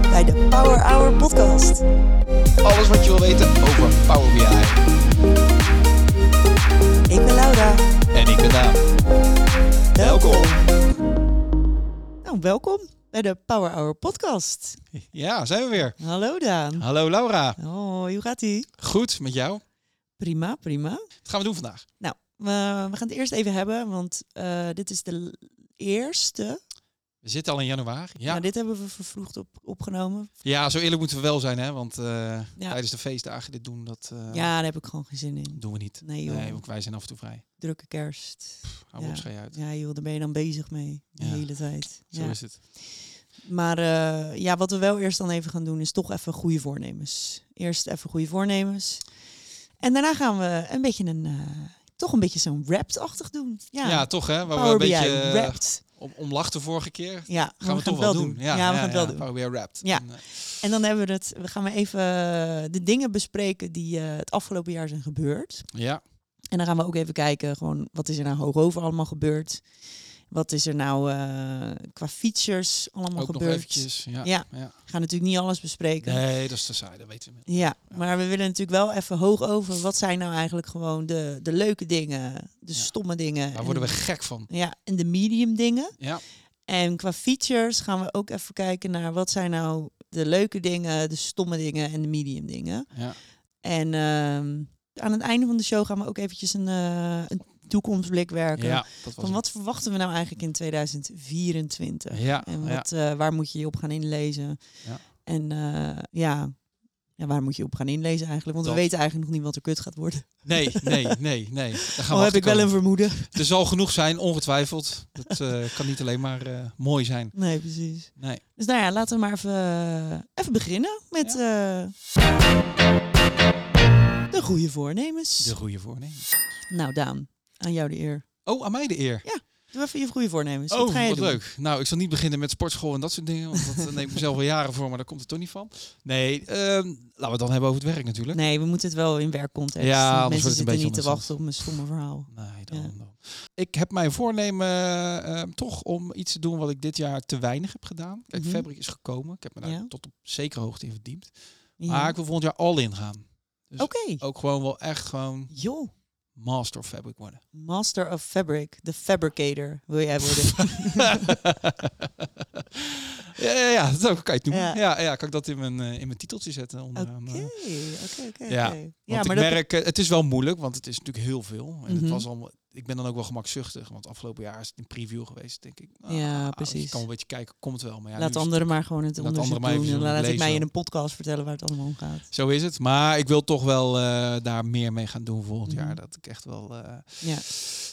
bij de Power Hour Podcast. Alles wat je wil weten over Power BI. Ik ben Laura. En ik ben Daan. Welkom. Nou, welkom bij de Power Hour Podcast. Ja, zijn we weer. Hallo Daan. Hallo Laura. Hoi, hoe gaat ie? Goed met jou. Prima, prima. Wat gaan we doen vandaag? Nou, we, we gaan het eerst even hebben, want eh, dit is de l- eerste. We zitten al in januari. Ja, Nou, dit hebben we vervroegd op, opgenomen. ja zo eerlijk moeten we wel zijn, hè? Want eh, Ja. tijdens de feestdagen dit doen, dat eh, Ja, daar heb ik gewoon geen zin in. doen we niet. Nee joh, Nee, ook wij zijn af en toe vrij. drukke kerst. Hou Ja. op, schei uit. Ja joh, daar ben je dan bezig mee de Ja. hele tijd. Zo Ja. is het. Maar eh, ja, wat we wel eerst dan even gaan doen, is toch even goede voornemens. Eerst even goede voornemens. En daarna gaan we een beetje een, eh, toch een beetje zo'n rapt-achtig doen. Ja, Ja, toch hè? Waar we Power een BI beetje eh, rapt. om, om lachten vorige keer. Gaan Ja, maar we, toch wel doen. Ja, we gaan het wel doen. Power BI Wrapped. Ja. En, eh, En dan hebben we het, we gaan we even eh, de dingen bespreken die eh, het afgelopen jaar zijn gebeurd. ja. En dan gaan we ook even kijken, gewoon, wat is er nou hoogover allemaal gebeurd? Wat is er nou eh, qua features allemaal ook nog gebeurd? eventjes. Ja. Ja. We gaan natuurlijk niet alles bespreken. Nee, dat is te saai. Dat weten we inmiddels. Ja, Ja. maar we willen natuurlijk wel even hoog over. Wat zijn nou eigenlijk gewoon de, de leuke dingen, de Ja. stomme dingen. Daar worden we en- gek van. Ja, en de medium dingen. Ja. En qua features gaan we ook even kijken naar wat zijn nou de leuke dingen, de stomme dingen en de medium dingen. ja. En ehm, aan het einde van de show gaan we ook eventjes een, eh, een toekomstblik werken. Ja, dat was Van wat verwachten we nou eigenlijk in 2024? het. Ja, En ja, wat, eh, waar moet je je op gaan inlezen? Ja. En eh, ja. ja, waar moet je op gaan inlezen eigenlijk? Want we Dat. weten eigenlijk nog niet wat er kut gaat worden. Nee, nee, nee, nee. Daar gaan Oh, we heb ik wel een achterkomen. vermoeden. Er zal genoeg zijn, ongetwijfeld. Dat eh, kan niet alleen maar eh, mooi zijn. Nee, precies. Nee. Dus nou ja, laten we maar even, eh, even beginnen met eh, de goede voornemens. De goede voornemens. Nou Daan, aan jou de eer. Oh, aan mij de eer. Doe even je goede voornemens. oh, wat ga je wat doen? leuk. Nou, ik zal niet beginnen met sportschool en dat soort dingen. Want dat eh, neem ik mezelf al jaren voor, maar daar komt het toch niet van. Nee, ehm, laten we het dan hebben over het werk natuurlijk. Nee, we moeten het wel in werkcontext. Ja, want anders mensen wordt het zitten een niet beetje te wachten op mijn stomme verhaal. Nee, dan, Ja. dan. Ik heb mijn voornemen eh, eh, toch om iets te doen wat ik dit jaar te weinig heb gedaan. Kijk, Mhm. Fabric is gekomen. Ik heb me daar Ja. tot op zekere hoogte in verdiept. Ja. Maar ik wil volgend jaar all in gaan. Dus Oké. ook gewoon wel echt gewoon Joh. master of fabric worden. Master of Fabric, de fabricator wil jij worden. ja, ja, ja, dat ook- kan je het doen. Ja. Ja. Ja, kan ik dat in mijn, eh, in mijn titeltje zetten onderaan. Oké, eh. oké, oké. Ja, oké. Want ik dat- merk, eh, het is wel moeilijk, want het is natuurlijk heel veel. En Mhm. het was al, ik ben dan ook wel gemakzuchtig, want afgelopen jaar is het een preview geweest, denk ik. Nou, Ja, ik precies. Ah, oh, kan wel een beetje kijken, komt het wel. Maar ja, laat nu is- anderen maar gewoon het laat onderzoek anderen maar even doen. En doen, dan laat ik lees mij wel. in een podcast vertellen waar het allemaal om gaat. Zo is het. Maar ik wil toch wel eh, daar meer mee gaan doen volgend Mhm. jaar. Dat ik echt wel eh, Ja.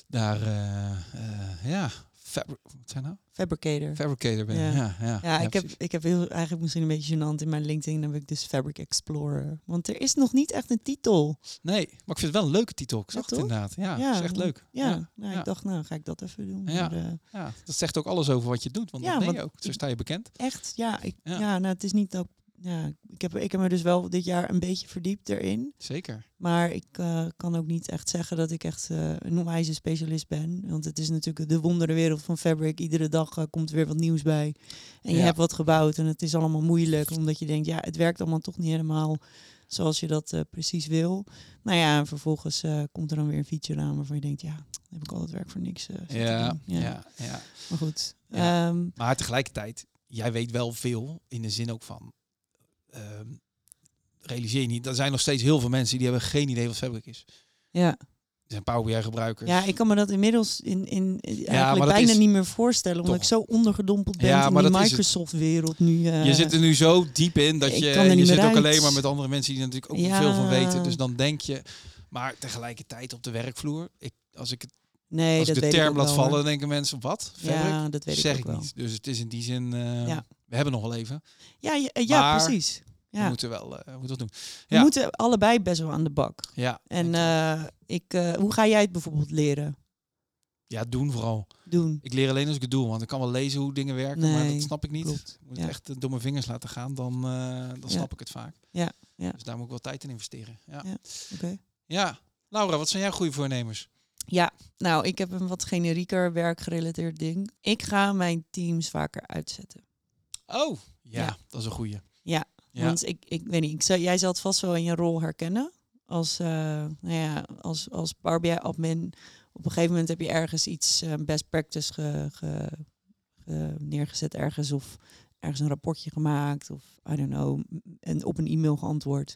daar, eh, eh, ja, fabri- wat zijn nou? Fabricator. Fabricator ben. Ja. Ja, ja, ja, ja, ik, heb, precies. ik heb heel, eigenlijk misschien een beetje gênant in mijn LinkedIn. Dan heb ik dus Fabric Explorer. Want er is nog niet echt een titel. Nee, maar ik vind het wel een leuke titel. Ik Ja, zag toch? het inderdaad. Ja, Ja, is echt leuk. Ja, ja. nou, ik dacht, nou ga ik dat even doen. Ja. Maar, eh, Ja, dat zegt ook alles over wat je doet, want Ja, dat ben je want ook. Zo sta je bekend. echt, ja, ik, ja. Ja. nou, het is niet dat... Ja, ik, heb, ik heb me dus wel dit jaar een beetje verdiept erin. Zeker. Maar ik eh, kan ook niet echt zeggen dat ik echt eh, een onwijze specialist ben. Want het is natuurlijk de wonderenwereld van fabric. Iedere dag eh, komt er weer wat nieuws bij. En je Ja. hebt wat gebouwd en het is allemaal moeilijk. Omdat je denkt, ja, het werkt allemaal toch niet helemaal zoals je dat eh, precies wil. Nou ja, en vervolgens eh, komt er dan weer een feature aan waarvan je denkt, ja, dan heb ik al het werk voor niks. eh, zitten Ja, doen. ja. Ja, Maar goed. Ja. Ehm, Maar tegelijkertijd, jij weet wel veel in de zin ook van. ehm, realiseer je niet, er zijn nog steeds heel veel mensen die hebben geen idee wat Fabric is. ja. Er zijn Power BI gebruikers. ja, ik kan me dat inmiddels in, in, in eigenlijk maar dat bijna is niet meer voorstellen. Omdat toch- ik zo ondergedompeld ben Ja, in maar die dat is het. Microsoft-wereld nu. je eh, zit er nu zo diep in dat ik je, kan er en je niet zit meer ook uit. alleen maar met andere mensen die er natuurlijk ook Ja. niet veel van weten. Dus dan denk je, maar tegelijkertijd op de werkvloer, ik, als ik, het- Nee, als dat ik de weet term ik laat ook wel, vallen, hoor. dan denken mensen, wat? Fabric? Ja, dat weet zeg ik ik ook wel. niet. Dus het is in die zin, eh, Ja. we hebben nog wel even. Ja, ja, ja, Maar- precies. Ja. We moeten wel eh, we moeten dat doen. We ja. moeten allebei best wel aan de bak. Ja, En denk ik. eh, ik, eh, hoe ga jij het bijvoorbeeld leren ja, doen vooral. doen? Ik leer alleen als ik het doe, want ik kan wel lezen hoe dingen werken, maar Nee, dat snap ik niet. klopt. Ik moet Ja. het echt eh, door mijn vingers laten gaan, dan, eh, dan Ja. snap ik het vaak. Ja, ja. Dus daar moet ik wel tijd in investeren. Ja. Ja. Oké. ja. Laura, wat zijn jouw goede voornemens? Ja, nou, ik heb een wat generieker werkgerelateerd ding. Ik ga mijn teams vaker uitzetten. Oh, ja, Ja. dat is een goede. Ja. Want ik, ik weet niet, ik zou, jij zal het vast wel in je rol herkennen. Als, eh, nou ja, als, als Power BI admin op een gegeven moment heb je ergens iets eh, best practice ge, ge- ge- neergezet ergens of ergens een rapportje gemaakt of I don't know, m- en op een e-mail geantwoord.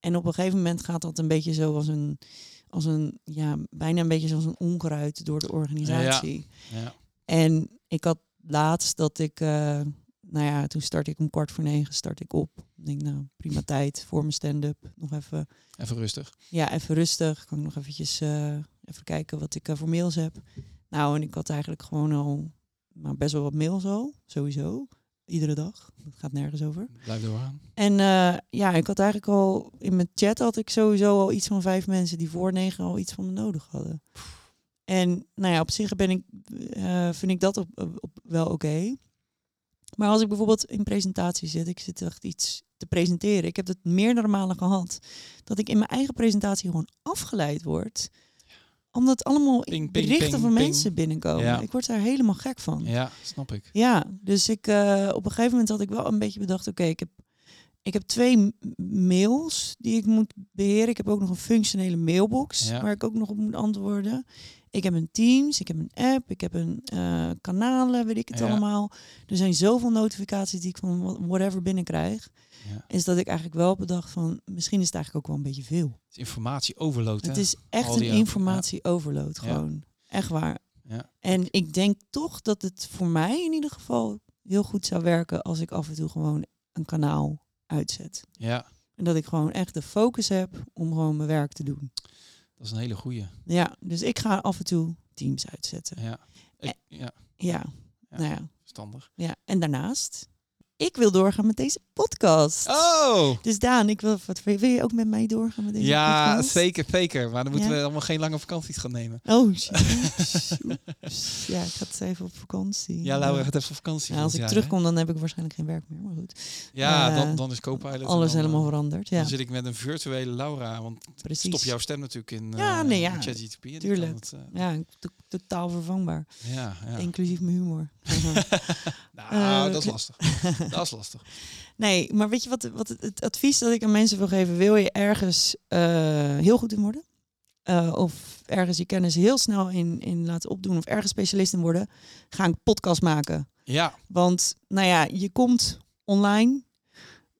En op een gegeven moment gaat dat een beetje zo als een, als een ja, bijna een beetje zoals een onkruid door de organisatie. Ja. En ik had laatst dat ik, eh, nou ja, toen start ik om kwart voor negen, start ik op. Ik denk, nou, prima tijd voor mijn stand-up. Nog even, Even rustig. ja, even rustig. Kan ik nog eventjes eh, even kijken wat ik eh, voor mails heb. Nou, en ik had eigenlijk gewoon al, maar best wel wat mails al, sowieso. Iedere dag. Dat gaat nergens over. Blijf doorgaan. En eh, ja, ik had eigenlijk al in mijn chat had ik sowieso al iets van vijf mensen die voor negen al iets van me nodig hadden. En nou ja, op zich ben ik, eh, vind ik dat op, op wel oké. Maar als ik bijvoorbeeld in presentatie zit, ik zit echt iets te presenteren. Ik heb het meerdere malen gehad dat ik in mijn eigen presentatie gewoon afgeleid word omdat allemaal Ping, ping, berichten ping, van ping. mensen binnenkomen. Ja. Ik word daar helemaal gek van. Ja, snap ik. Ja, dus ik, eh, op een gegeven moment had ik wel een beetje bedacht, oké, ik, heb, ik heb twee m- mails die ik moet beheren. Ik heb ook nog een functionele mailbox Ja. waar ik ook nog op moet antwoorden. Ik heb een Teams, ik heb een app, ik heb een eh, kanalen, weet ik het Ja. allemaal. Er zijn zoveel notificaties die ik van wha- whatever binnenkrijg. Ja. Is dat ik eigenlijk wel bedacht van, misschien is het eigenlijk ook wel een beetje veel. Het is informatie overload. Het hè? is echt Al die een app, ja. informatie-overload Ja. gewoon. Echt waar. Ja. En ik denk toch dat het voor mij in ieder geval heel goed zou werken als ik af en toe gewoon een kanaal uitzet. ja, En dat ik gewoon echt de focus heb om gewoon mijn werk te doen. dat is een hele goeie. Ja, dus ik ga af en toe teams uitzetten. Ja, Eh. ik, ja Ja, Ja. nou ja, verstandig. ja. En daarnaast, ik wil doorgaan met deze podcast. Oh! Dus Daan, ik wil, wat, wil je ook met mij doorgaan met deze Ja, podcast? zeker, zeker. Maar dan moeten Ja. we allemaal geen lange vakanties gaan nemen. Oh, shit. ja, ik had even op vakantie. Ja, Laura gaat even op vakantie. Ja, als ik volgend jaar, hè? terugkom, dan heb ik waarschijnlijk geen werk meer. Maar goed, Ja, eh, dan, dan is Copilot. en alles dan, eh, helemaal veranderd. Ja, Dan zit ik met een virtuele Laura, want precies. stop jouw stem natuurlijk in, eh, Ja, nee, ja. in ChatGPT. en die Tuurlijk. kan het, eh, Ja, ik- to- totaal vervangbaar. ja, ja. Inclusief mijn humor. Nou, Eh, dat is lastig. dat is lastig. nee, maar weet je wat, wat het, het advies dat ik aan mensen wil geven? Wil je ergens eh, heel goed in worden? Eh, of ergens je kennis heel snel in, in laten opdoen? Of ergens specialist in worden? Ga een podcast maken. Ja, Want nou ja, je komt online.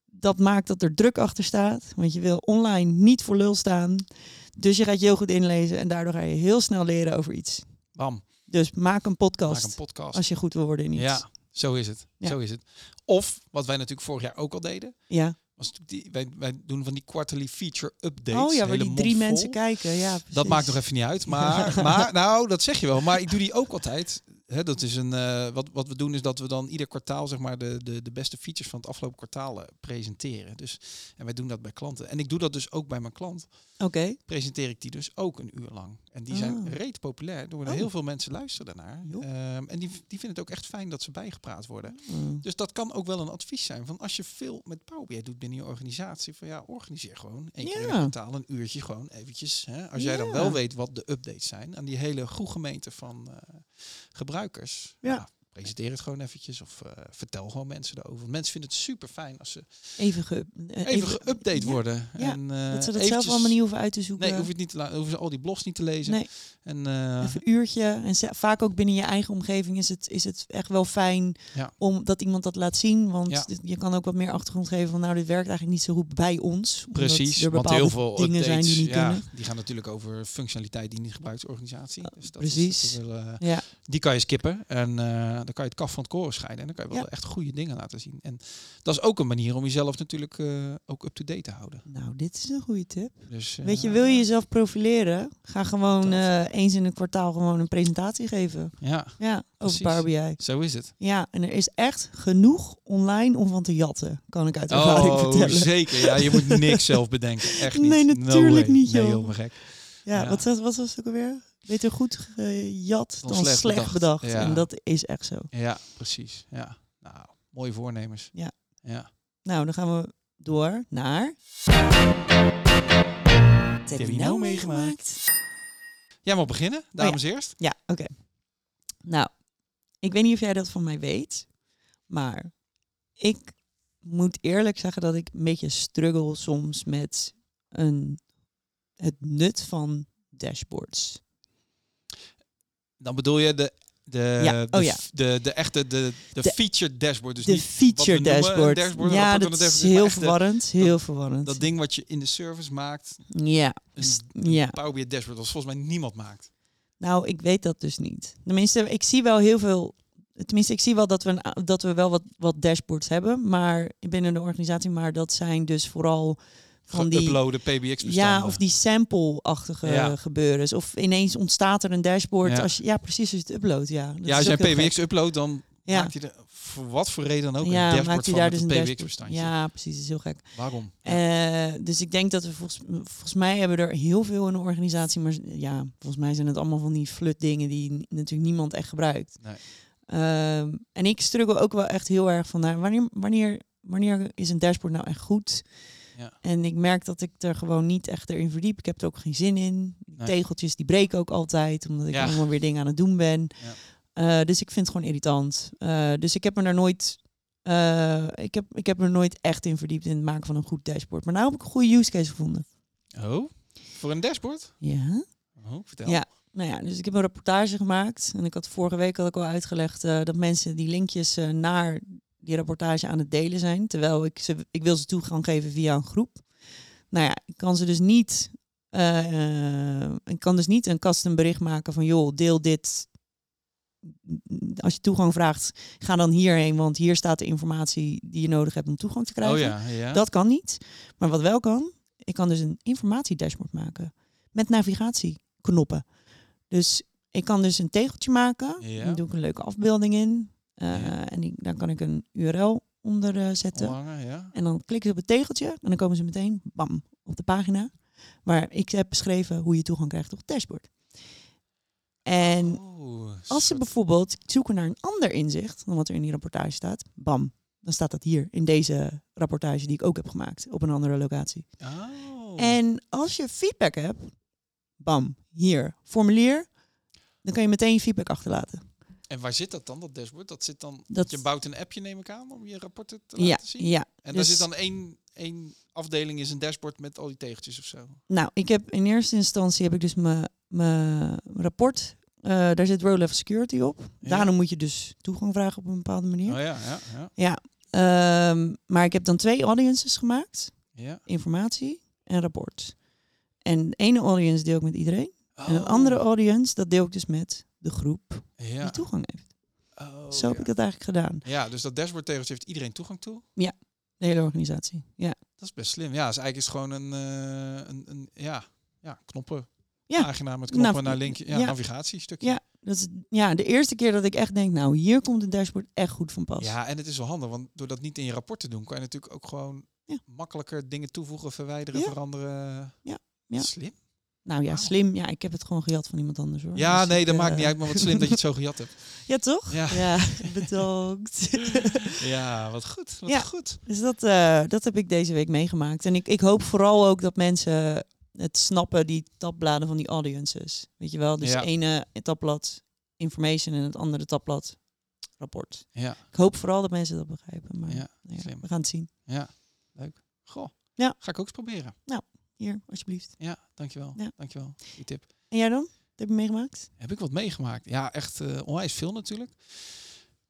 Dat maakt dat er druk achter staat. Want je wil online niet voor lul staan. Dus je gaat je heel goed inlezen. En daardoor ga je heel snel leren over iets. bam. Dus maak een podcast. Maak een podcast. als je goed wil worden in iets. Ja, zo is het. Ja. Zo is het. Of wat wij natuurlijk vorig jaar ook al deden, Ja. was natuurlijk die, wij, wij doen van die quarterly feature updates. oh ja, waar hele die mond drie vol. mensen kijken. Ja, precies. Dat maakt nog even niet uit. Maar, maar nou, dat zeg je wel. Maar ik doe die ook altijd. Hè, dat is een, eh, wat, wat we doen is dat we dan ieder kwartaal zeg maar, de, de, de beste features van het afgelopen kwartaal eh, presenteren. Dus, en wij doen dat bij klanten. En ik doe dat dus ook bij mijn klant. Oké, presenteer ik die dus ook een uur lang. En die zijn Ah. reet populair. Er worden Oh. heel veel mensen luisteren daarnaar. Joh. Ehm, en die, die vinden het ook echt fijn dat ze bijgepraat worden. Mm, Dus dat kan ook wel een advies zijn. Van als je veel met Power BI doet binnen je organisatie. Van ja, organiseer gewoon één keer in Ja. het kwartaal een uurtje gewoon eventjes. Hè. Als jij dan Ja. wel weet wat de updates zijn. Aan die hele goede gemeente van eh, gebruikers. Ja. presenteer het gewoon eventjes. Of eh, vertel gewoon mensen erover. Want mensen vinden het super fijn als ze even ge eh, even, geüpdate ja, worden. ja. En, Dat eh, ze dat zelf eventjes- allemaal niet hoeven uit te zoeken. Nee, hoef je het niet te la- hoeven ze al die blogs niet te lezen. Nee. En eh, Even een uurtje. En ze- vaak ook binnen je eigen omgeving is het, is het echt wel fijn Ja. om dat iemand dat laat zien. Want Ja. dit- je kan ook wat meer achtergrond geven van nou, dit werkt eigenlijk niet zo goed bij ons. omdat precies, er want bepaalde heel veel dingen updates, zijn die niet ja, kunnen. Oh, die gaan natuurlijk over functionaliteit die niet gebruikt is organisatie. Dus dat precies. Is, dat is wel, eh, Ja. Die kan je skippen en eh, dan kan je het kaf van het koren scheiden. En dan kan je wel Ja. echt goede dingen laten zien. En dat is ook een manier om jezelf natuurlijk eh, ook up-to-date te houden. Nou, dit is een goede tip. Dus, eh, Weet je, wil je jezelf profileren? Ga gewoon Dat. eh, eens in een kwartaal gewoon een presentatie geven. Ja, Ja, over Precies. Power BI. zo is het. Ja, en er is echt genoeg online om van te jatten, kan ik uit ervaring Oh, vertellen. zeker. Ja, je moet niks zelf bedenken. Echt niet. Nee, No natuurlijk way. niet, Nee, joh. helemaal gek. Ja, ja. Wat, was- wat was het ook alweer? Beter goed gejat dan, Dan slecht slecht, bedacht. bedacht, ja. En dat is echt zo. Ja, precies. Ja. Nou, mooie voornemens. Ja. Ja. Nou, dan gaan we door naar... Wat heb je je nou nou meegemaakt? Jij mag beginnen, dames eerst. Ja, oké. Nou, ik weet niet of jij dat van mij weet, maar ik moet eerlijk zeggen dat ik een beetje struggle soms met een, het nut van dashboards. Dan bedoel je de, de, Ja, de, oh ja. f- de, de echte, de, de, De- feature dashboard. Dus de niet feature wat we noemen een dashboard. dashboard, een ja, rapport van dat een is dashboard, maar heel echt de- verwarrend. Heel verwarrend. dat ding wat je in de service maakt. ja. Een S- ja. Power BI dashboard, dat volgens mij niemand maakt. Nou, ik weet dat dus niet. Tenminste, ik zie wel heel veel. Tenminste, ik zie wel dat we, een a- dat we wel wat, wat dashboards hebben, maar binnen de organisatie. Maar dat zijn dus vooral van die. Uploaden, PBX-bestanden. Ja, of die sample-achtige Ja. gebeuren. Of ineens ontstaat er een dashboard. Ja. Ja, als je, ja precies, als je het upload. Ja, Dat ja, als is jij ook heel gek. PBX upload, dan Ja. maakt hij er voor wat voor reden dan ook ja, een dashboard maakt hij van daar met dus een een dashboard. PBX-bestandje. Ja, precies, dat is heel gek. Waarom? Eh, dus ik denk dat we volgens, volgens mij hebben we er heel veel in de organisatie. Maar ja, volgens mij zijn het allemaal van die flut dingen die n- natuurlijk niemand echt gebruikt. Nee. Ehm, en ik struggle ook wel echt heel erg van nou, wanneer, wanneer, wanneer is een dashboard nou echt goed? Ja. En ik merk dat ik er gewoon niet echt erin verdiep. Ik heb er ook geen zin in. Die Nee. Tegeltjes die breken ook altijd, omdat ik Ja. allemaal weer dingen aan het doen ben. Ja. Eh, dus ik vind het gewoon irritant. Eh, dus ik heb me daar nooit eh, ik, heb, ik heb me nooit echt in verdiept in het maken van een goed dashboard. Maar nu heb ik een goede use case gevonden. Oh, voor een dashboard? Ja. Oh, vertel. Ja. Nou ja, dus ik heb een rapportage gemaakt. En ik had vorige week had ik al uitgelegd eh, dat mensen die linkjes eh, naar die rapportage aan het delen zijn. Terwijl ik, ze, ik wil ze toegang geven via een groep. Nou ja, ik kan ze dus niet. eh, eh, ik kan dus niet een custom bericht maken van joh, deel dit. Als je toegang vraagt, ga dan hierheen. Want hier staat de informatie die je nodig hebt om toegang te krijgen. Oh ja, ja. Dat kan niet. Maar wat wel kan, ik kan dus een informatiedashboard maken met navigatieknoppen. Dus ik kan dus een tegeltje maken. Ja. Daar doe ik een leuke afbeelding in. Eh, Ja. En die, daar kan ik een URL onder eh, zetten. Omhangen, ja. En dan klikken ze op het tegeltje en dan komen ze meteen, bam, op de pagina. Waar ik heb beschreven hoe je toegang krijgt tot het dashboard. En Oh, als ze soort- bijvoorbeeld zoeken naar een ander inzicht dan wat er in die rapportage staat, bam, dan staat dat hier in deze rapportage die ik ook heb gemaakt op een andere locatie. Oh. En als je feedback hebt, bam, hier, formulier, dan kan je meteen je feedback achterlaten. En waar zit dat dan, dat dashboard? Dat zit dan, Dat- je bouwt een appje, neem ik aan, om je rapporten te Ja, laten zien? ja. En daar dus- zit dan één, één afdeling is een dashboard met al die tegeltjes of zo. Nou, ik heb in eerste instantie heb ik dus mijn- mijn rapport. Eh, daar zit row level security op. Ja. Daarom moet je dus toegang vragen op een bepaalde manier. Oh ja, ja, ja. Ehm, maar ik heb dan twee audiences gemaakt. ja. informatie en rapport. En de ene audience deel ik met iedereen. En een Oh, andere audience, dat deel ik dus met de groep Ja. die toegang heeft. Oh, Zo heb ja. ik dat eigenlijk gedaan. ja, dus dat dashboard tegeltje heeft iedereen toegang toe. De hele organisatie. Ja, Dat is best slim. Ja, dus eigenlijk is het gewoon een, eh, een, een ja, ja, knoppen. Ja. Pagina met knoppen Nav- naar link, ja, ja. navigatiestukje. Ja. dat is ja, de eerste keer dat ik echt denk, nou hier komt het dashboard echt goed van pas. Ja, en het is wel handig, want door dat niet in je rapport te doen, kan je natuurlijk ook gewoon Ja. makkelijker dingen toevoegen, verwijderen, Ja. veranderen. Ja, ja. Slim. Nou ja, Wauw. slim. Ja, ik heb het gewoon gejat van iemand anders hoor. Ja, Dus nee, ik, dat eh, maakt niet uit, maar wat slim dat je het zo gejat hebt. Ja, toch? Ja. bedankt. Ja, wat goed. Wat Ja. goed. Dus dat, eh, dat heb ik deze week meegemaakt. En ik, ik hoop vooral ook dat mensen het snappen, die tabbladen van die audiences. Weet je wel? Dus Ja. het ene tabblad information en het andere tabblad rapport. Ja, Ik hoop vooral dat mensen dat begrijpen. Maar ja. nou ja, slim. we gaan het zien. Goh. Ja. Ga ik ook eens proberen. Hier, alsjeblieft. Ja, dankjewel. Ja. Dankjewel. Die tip. En jij dan? Wat heb je meegemaakt? Heb ik wat meegemaakt? Ja, echt eh, onwijs veel natuurlijk.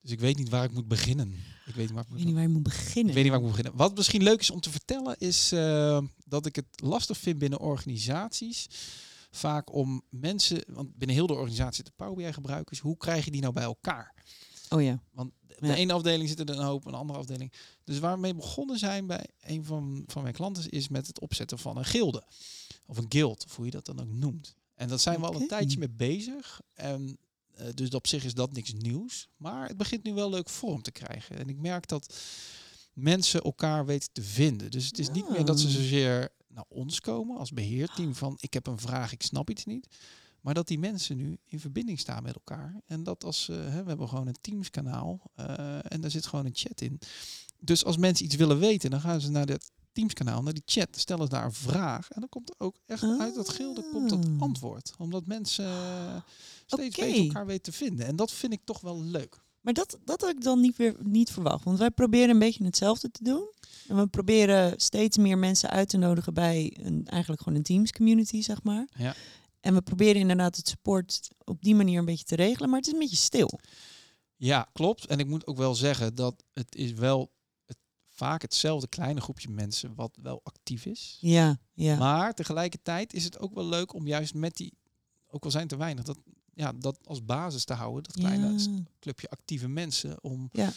Dus ik weet niet waar ik moet beginnen. Ik weet niet waar Ik ik moet weet niet waar je moet beginnen. Ik weet niet waar ik moet beginnen. Wat misschien leuk is om te vertellen is eh, dat ik het lastig vind binnen organisaties. Vaak om mensen, want binnen heel de organisatie zitten Power BI gebruikers. Hoe krijg je die nou bij elkaar? Oh ja. Op de Ja. ene afdeling zitten er een hoop, een andere afdeling. Dus waar we mee begonnen zijn bij een van, van mijn klanten is met het opzetten van een gilde. Of een guild, of hoe je dat dan ook noemt. En dat zijn we al een Oké. tijdje mee bezig. En, eh, dus op zich is dat niks nieuws. Maar het begint nu wel leuk vorm te krijgen. En ik merk dat mensen elkaar weten te vinden. Dus het is niet meer dat ze Ah. zozeer naar ons komen als beheerteam van ik heb een vraag, ik snap iets niet. Maar dat die mensen nu in verbinding staan met elkaar. En dat als eh, hè, we hebben gewoon een Teams kanaal eh, en daar zit gewoon een chat in. Dus als mensen iets willen weten, dan gaan ze naar dat Teams kanaal, naar die chat, stellen ze daar een vraag. En dan komt er ook echt uit dat gilde komt dat Ah. antwoord. Omdat mensen eh, steeds Oké. beter elkaar weten te vinden. En dat vind ik toch wel leuk. Maar dat, dat had ik dan niet, weer, niet verwacht. Want wij proberen een beetje hetzelfde te doen. En we proberen steeds meer mensen uit te nodigen bij een, eigenlijk gewoon een Teams community, zeg maar. Ja. En we proberen inderdaad het support op die manier een beetje te regelen. Maar het is een beetje stil. Ja, klopt. En ik moet ook wel zeggen dat het is wel het, vaak hetzelfde kleine groepje mensen wat wel actief is. Ja, ja. Maar tegelijkertijd is het ook wel leuk om juist met die, ook al zijn het er weinig, dat, ja, dat als basis te houden. Dat kleine s- ja. clubje actieve mensen. Om, Ja.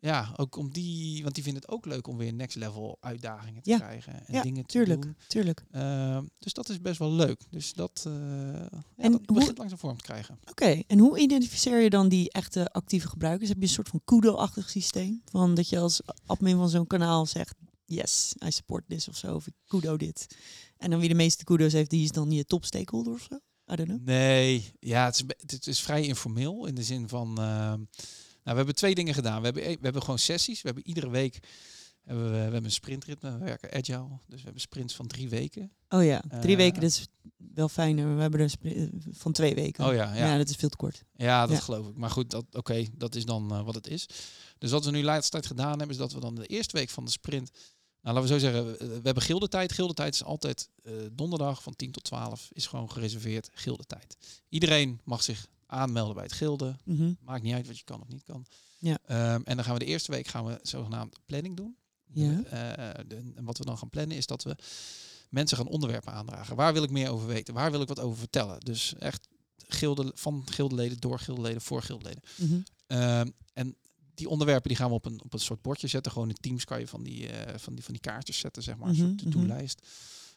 ja, ook om die, want die vinden het ook leuk om weer next level uitdagingen te Ja. krijgen. En Ja, dingen te Tuurlijk, doen. tuurlijk. Ehm, dus dat is best wel leuk. Dus dat, eh ja, En dat hoe- begint langzaam vorm te krijgen. Oké, en hoe identificeer je dan die echte actieve gebruikers? Heb je een soort van kudo-achtig systeem? Van dat je als admin van zo'n kanaal zegt, yes, I support this of zo, of ik kudo dit. En dan wie de meeste kudo's heeft, die is dan je top stakeholder of zo? I don't know. Nee, ja, het is, be- het is vrij informeel in de zin van. ehm, nou, we hebben twee dingen gedaan. We hebben, e- we hebben gewoon sessies. We hebben iedere week hebben we, we hebben een sprintritme. We werken agile. Dus we hebben sprints van drie weken. Oh ja, drie Eh, weken, dat is wel fijner. We hebben er spri- eh, van twee weken. Oh ja, ja. dat is veel te kort. Ja, dat Ja. geloof ik. Maar goed, dat- oké, dat is dan eh, wat het is. Dus wat we nu laatst tijd gedaan hebben, is dat we dan de eerste week van de sprint. Nou, laten we zo zeggen, eh, we hebben gildetijd. Gildetijd is altijd eh, donderdag van 10 tot 12 is gewoon gereserveerd gildetijd. Iedereen mag zich aanmelden bij het gilde. Mhm. Maakt niet uit wat je kan of niet kan. Ja. Ehm, en dan gaan we de eerste week gaan we zogenaamd planning doen. Ja. Eh, de- en wat we dan gaan plannen is dat we mensen gaan onderwerpen aandragen. Waar wil ik meer over weten? Waar wil ik wat over vertellen? Dus echt gilde, van gildeleden, door gildeleden, voor gildeleden. Mhm. Ehm, en die onderwerpen die gaan we op een, op een soort bordje zetten. Gewoon in teams kan je van die, eh, van die, van die kaartjes zetten, zeg maar. Een Mhm, soort mhm. to-do-lijst.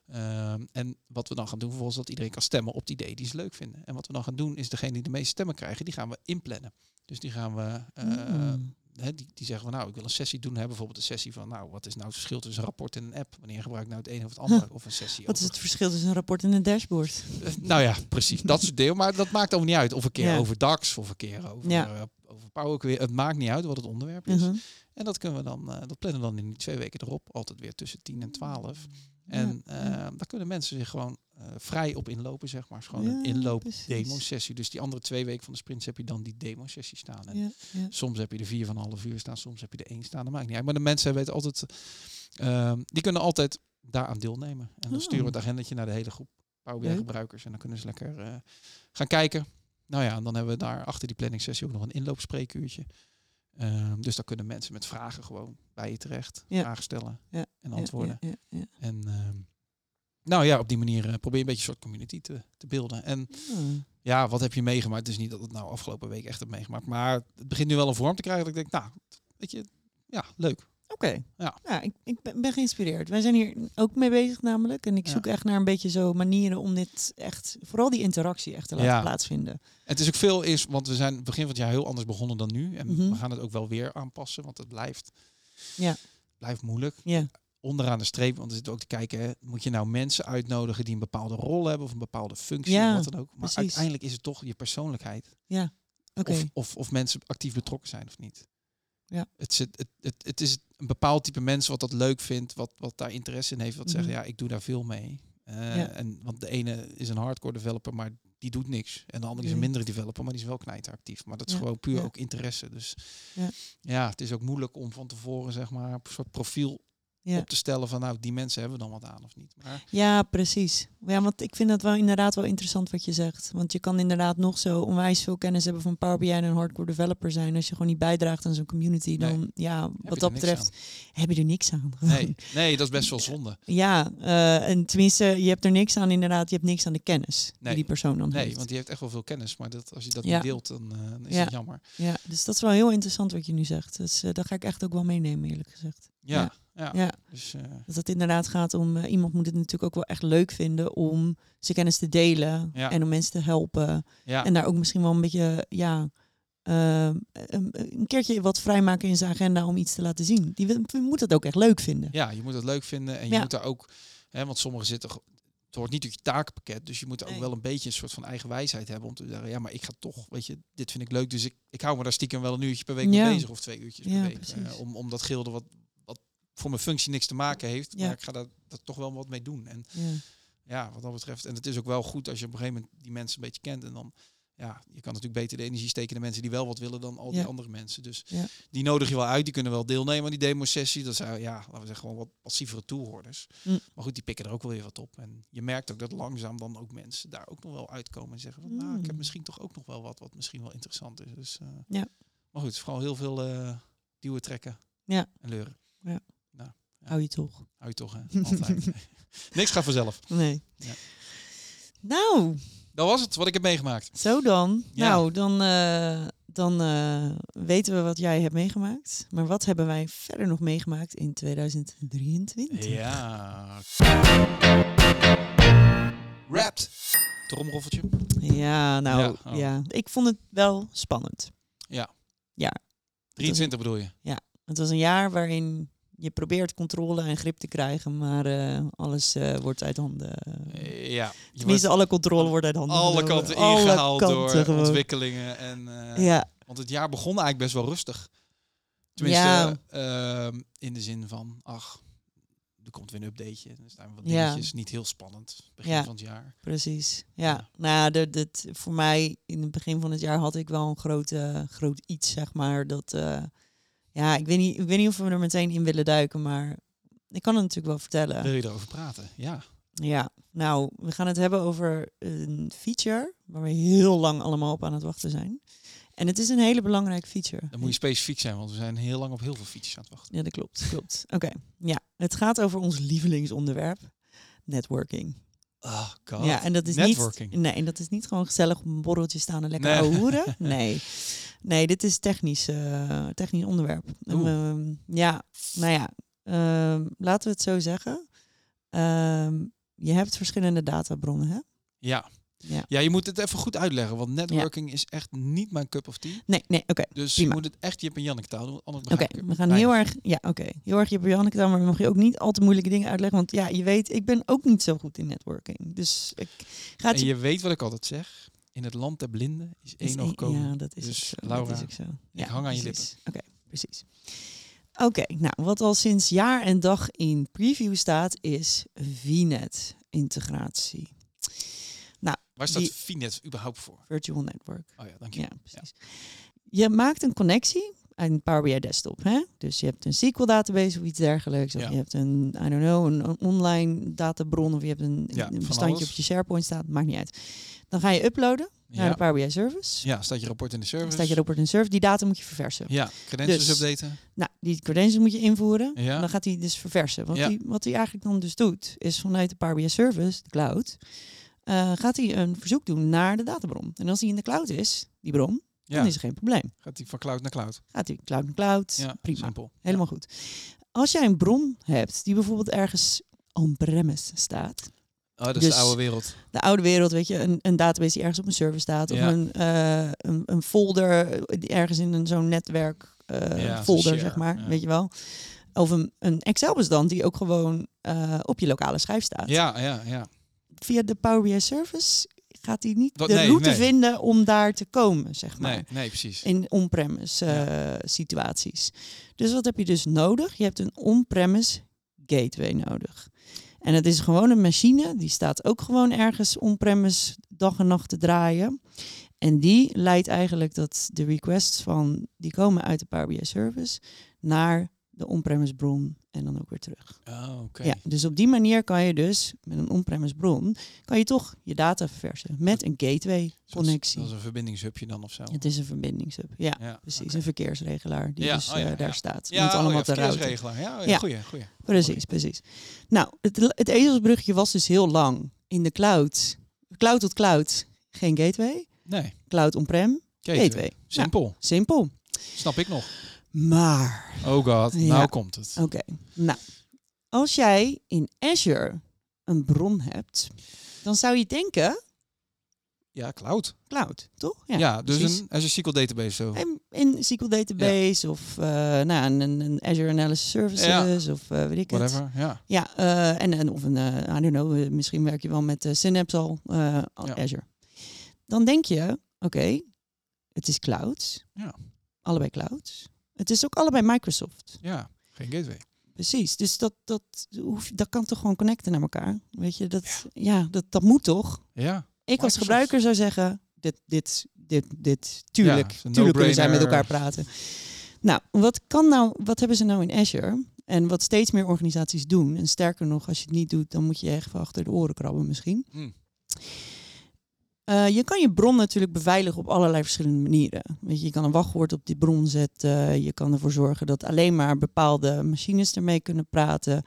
Ehm, en wat we dan gaan doen vervolgens is dat iedereen kan stemmen op die ideeën die ze leuk vinden. En wat we dan gaan doen is degene die de meeste stemmen krijgen, die gaan we inplannen. Dus die gaan we, eh, Mm. hè, die, die zeggen van nou, ik wil een sessie doen. Hè, bijvoorbeeld een sessie van nou, wat is nou het verschil tussen een rapport en een app? Wanneer gebruik ik nou het een of het ander? Of een sessie Wat is over- het verschil tussen een rapport en een dashboard? eh, Nou ja, precies. Dat soort dingen. Maar dat maakt ook niet uit. Of een keer Ja. over DAX, of een keer over, Ja. eh, over Power Query. Het maakt niet uit wat het onderwerp is. Mhm. En dat kunnen we dan, eh, dat plannen we dan in die twee weken erop. Altijd weer tussen 10 en 12. En Ja, eh, ja. daar kunnen mensen zich gewoon eh, vrij op inlopen, zeg maar. Is gewoon een Ja, inloop precies. demo-sessie. Dus die andere twee weken van de sprints heb je dan die demo-sessie staan. En Ja, ja. Soms heb je er vier van een half uur staan, soms heb je er één staan. Dat maakt niet uit. Maar de mensen weten altijd, ehm, die kunnen altijd daaraan deelnemen. En dan Oh. sturen we het agendetje naar de hele groep Power BI Leuk. gebruikers. En dan kunnen ze lekker eh, gaan kijken. Nou ja, en dan hebben we daar achter die planning sessie ook nog een inloopspreekuurtje. Ehm, dus dan kunnen mensen met vragen gewoon bij je terecht. Ja. Vragen stellen Ja, en Ja, antwoorden. ja, ja, ja. En ehm, nou ja, op die manier eh, probeer je een beetje een soort community te, te beelden. En Ah. ja, wat heb je meegemaakt? Het is niet dat het nou afgelopen week echt heb meegemaakt. Maar het begint nu wel een vorm te krijgen dat ik denk, nou, weet je, ja, leuk. Oké. Ja. Ja, ik, ik ben, ben geïnspireerd. Wij zijn hier ook mee bezig namelijk. En ik Ja. zoek echt naar een beetje zo manieren om dit echt... Vooral die interactie echt te laten Ja. plaatsvinden. Het is ook veel is, want we zijn begin van het jaar heel anders begonnen dan nu. En Mhm. we gaan het ook wel weer aanpassen, want het blijft, Ja. blijft moeilijk. Ja. Onderaan de streep, want er zit ook te kijken, hè, moet je nou mensen uitnodigen die een bepaalde rol hebben of een bepaalde functie, Ja, wat dan ook. Maar precies. uiteindelijk is het toch je persoonlijkheid. Oké. Of, of, of mensen actief betrokken zijn of niet. Ja. Het, zit, het, het, het is een bepaald type mensen wat dat leuk vindt, wat, wat daar interesse in heeft, wat zeggen, Mhm. ja, ik doe daar veel mee. Eh, Ja. en, want de ene is een hardcore developer, maar die doet niks. En de andere is een Nee. mindere developer, maar die is wel knijteractief. Maar dat is Ja, gewoon puur ja. ook interesse. Dus Ja. ja. het is ook moeilijk om van tevoren, zeg maar, een soort profiel Ja. op te stellen van, nou, die mensen hebben we dan wat aan of niet. Maar Ja, precies. Ja, want ik vind dat wel inderdaad wel interessant wat je zegt. Want je kan inderdaad nog zo onwijs veel kennis hebben van Power BI en een hardcore developer zijn. Als je gewoon niet bijdraagt aan zo'n community, dan ja, heb wat je dat er niks betreft heb je er niks aan. aan. Nee, nee, dat is best wel zonde. Ja, eh, en tenminste, je hebt er niks aan inderdaad. Je hebt niks aan de kennis die Nee. die persoon dan heeft. Nee, want die heeft echt wel veel kennis, maar dat, als je dat Ja. niet deelt, dan eh, dan is Ja. het jammer. Ja, dus dat is wel heel interessant wat je nu zegt. Dus eh dat ga ik echt ook wel meenemen, eerlijk gezegd. Ja, ja. Ja, Dus, eh, dat het inderdaad gaat om... eh, iemand moet het natuurlijk ook wel echt leuk vinden om zijn kennis te delen. Ja. En om mensen te helpen. ja. En daar ook misschien wel een beetje, ja... ehm, een, een keertje wat vrijmaken in zijn agenda om iets te laten zien. Die wil- moet dat ook echt leuk vinden. ja, je moet het leuk vinden en je Ja. moet daar ook, hè, want sommigen zitten, ge- het hoort niet uit je takenpakket, dus je moet ook Nee. wel een beetje een soort van eigen wijsheid hebben om te zeggen, ja, maar ik ga toch, weet je, dit vind ik leuk, dus ik, ik hou me daar stiekem wel een uurtje per week Ja. mee bezig of twee uurtjes Ja, per week. eh, precies. om, om dat gilde wat, wat voor mijn functie niks te maken heeft, Ja. maar ik ga daar, daar toch wel wat mee doen. En Ja. ja, wat dat betreft, en het is ook wel goed als je op een gegeven moment die mensen een beetje kent en dan ja, je kan natuurlijk beter de energie steken in de mensen die wel wat willen dan al die Ja. andere mensen. Dus Ja. die nodig je wel uit, die kunnen wel deelnemen aan die demo-sessie. Dat zijn, ja, laten we zeggen, gewoon wat passievere toehoorders. Mm. Maar goed, die pikken er ook wel weer wat op. En je merkt ook dat langzaam dan ook mensen daar ook nog wel uitkomen en zeggen van, nou, ik heb Mm. misschien toch ook nog wel wat wat misschien wel interessant is. Dus, eh, Ja. Maar goed, vooral heel veel eh, duwen trekken Ja. en leuren. Hou je toch? Hou je toch, hè? Altijd. Niks gaat vanzelf. Nee. Ja. Nou, Dat was het, wat ik heb meegemaakt. zo dan. Ja. Nou, dan, eh, dan eh, weten we wat jij hebt meegemaakt. Maar wat hebben wij verder nog meegemaakt in 2023? Ja. Wrapped. Tromroffeltje. Ja, nou Ja, ja, oh. Ik vond het wel spannend. 23 bedoel je? Het was een jaar waarin je probeert controle en grip te krijgen, maar eh, alles eh, wordt uit handen. Eh, Ja. Je wordt Tenminste, alle controle wordt uit handen. alle genomen. kanten Alle ingehaald door kanten gewoon. ontwikkelingen. En, eh, Ja, Want het jaar begon eigenlijk best wel rustig. Tenminste, Ja. ehm, in de zin van, ach, er komt weer een updateje. Er staan wat Ja. dingetjes, niet heel spannend. Begin Ja. van het jaar. precies. Ja. Ja, nou ja, dat, dat- voor mij in het begin van het jaar had ik wel een groot, eh, groot iets, zeg maar. Dat, eh, ja, ik weet, niet, ik weet niet of we er meteen in willen duiken, maar ik kan het natuurlijk wel vertellen. Wil je erover praten? Ja. Ja, nou, we gaan het hebben over een feature waar we heel lang allemaal op aan het wachten zijn. En het is een hele belangrijke feature. Dan moet je specifiek zijn, want we zijn heel lang op heel veel fietsjes aan het wachten. Ja, dat klopt. klopt. Oké, ja. Het gaat over ons lievelingsonderwerp, networking. Oh god. Ja, en dat is Networking. niet. Nee, en dat is niet gewoon gezellig op een borreltje staan en lekker Nee. ouwe hoeren. Nee. Nee, dit is technisch, eh, technisch onderwerp. Oeh. Ehm, ja, nou ja, ehm, laten we het zo zeggen. Ehm, je hebt verschillende databronnen, hè? Ja. Ja. ja, je moet het even goed uitleggen, want networking is echt niet mijn cup of tea. Nee, nee, oké. Dus je Prima. moet het echt Jip en Janneke taal doen, want anders Oké, begrijp ik het we gaan bijna. heel erg, ja, oké, heel erg je Janneke dan, maar dan mag je ook niet al te moeilijke dingen uitleggen, want ja, je weet, ik ben ook niet zo goed in networking, dus ik ga het En je weet wat ik altijd zeg, in het land der blinden is één nog komen. Ja, dat is Dus, ook zo. Laura, dat is ook zo. ja, hang aan je precies. Oké, precies. Oké, nou, wat al sinds jaar en dag in preview staat, is VNet-integratie, Waar staat die- Finet überhaupt voor? Nou, Virtual Network. Oh ja, dank je. Ja, precies. Je maakt een connectie aan Power BI Desktop. Hè? Dus je hebt een SQL database of iets dergelijks. Of Ja. je hebt een, I don't know, een, een online databron. Of je hebt een, Ja, een van bestandje alles. op je SharePoint staat. Maakt niet uit. Dan ga je uploaden naar de Ja. Power BI service. ja, staat je rapport in de Dan service. nou, staat je erop een server. Die data moet je verversen. Ja, credentials Dus- updaten. Nou, die credentials moet je invoeren. Ja. En dan gaat hij dus verversen. Wat Ja. hij wat hij eigenlijk dan dus doet, is vanuit de Power BI Service, de cloud, eh, gaat hij een verzoek doen naar de databron. En als die in de cloud is, die bron, ja. dan is er geen probleem. Gaat die van cloud naar cloud. Gaat die cloud naar cloud, Ja, prima. simpel. Helemaal goed. Als jij een bron hebt die bijvoorbeeld ergens on-premise staat, Oh, dat is Dus- de oude wereld. de oude wereld, weet je, een, een database die ergens op een server staat, of Ja. een, eh, een, een folder die ergens in een zo'n netwerk eh, Ja, zo'n folder, share, zeg maar, ja. weet je wel. Of een, een Excel-bestand die ook gewoon eh, op je lokale schijf staat. Ja, ja, ja. Via de Power BI Service gaat hij niet Dat- de nee, route nee. vinden om daar te komen, zeg maar. Nee, nee, precies. In on-premise eh, situaties. Dus wat heb je dus nodig? Je hebt een on-premise gateway nodig. En het is gewoon een machine, die staat ook gewoon ergens on-premise dag en nacht te draaien. En die leidt eigenlijk dat de requests van, die komen uit de Power BI service naar de on-premise bron en dan ook weer terug. Oh, oké. Ja, dus op die manier kan je dus, met een on-premise bron, kan je toch je data verversen met een gateway Zoals- connectie. Dat is een verbindingshubje dan of zo. Het is een verbindingshub, ja. Ja, Precies, oké. een verkeersregelaar die Ja, dus oh ja, eh, daar ja. staat. Ja, Ja, allemaal oh ja, te routen. verkeersregelaar. Ja, oh ja, Ja. goeie, goeie. Precies, precies. Nou, het, het ezelsbruggetje was dus heel lang in de cloud. Cloud tot cloud, geen gateway. Nee, Cloud on-prem, gateway. gateway. Nou, Simpel. simpel. Snap ik nog. Maar, Oh god, Ja. nou komt het. oké. Nou, als jij in Azure een bron hebt, dan zou je denken Ja, cloud. cloud, toch? Ja, dus precies. een Azure SQL database zo. Een, een SQL database of eh, nou, een, een- een Azure Analysis Services of eh, weet ik het. Whatever, ja. Ja, eh, en, en of een, eh I don't know, eh, misschien werk je wel met eh, Synapse al, eh, al Ja. Azure. Dan denk je, oké, het is clouds. Ja. Allebei clouds. Het is ook allebei Microsoft. Ja, geen gateway. Precies. Dus dat, dat, hoef, dat kan toch gewoon connecten naar elkaar. Weet je, dat, ja. dat, dat moet toch? Ja, Ik als Microsoft. gebruiker zou zeggen, dit, dit, dit, dit. Tuurlijk, Ja, het is een tuurlijk kunnen zij met no-brainer. elkaar praten. Nou, wat kan nou, wat hebben ze nou in Azure? En wat steeds meer organisaties doen, en sterker nog, als je het niet doet, dan moet je echt van achter de oren krabben misschien. Hm. Eh, je kan je bron natuurlijk beveiligen op allerlei verschillende manieren. Weet je, je kan een wachtwoord op die bron zetten. Je kan ervoor zorgen dat alleen maar bepaalde machines ermee kunnen praten.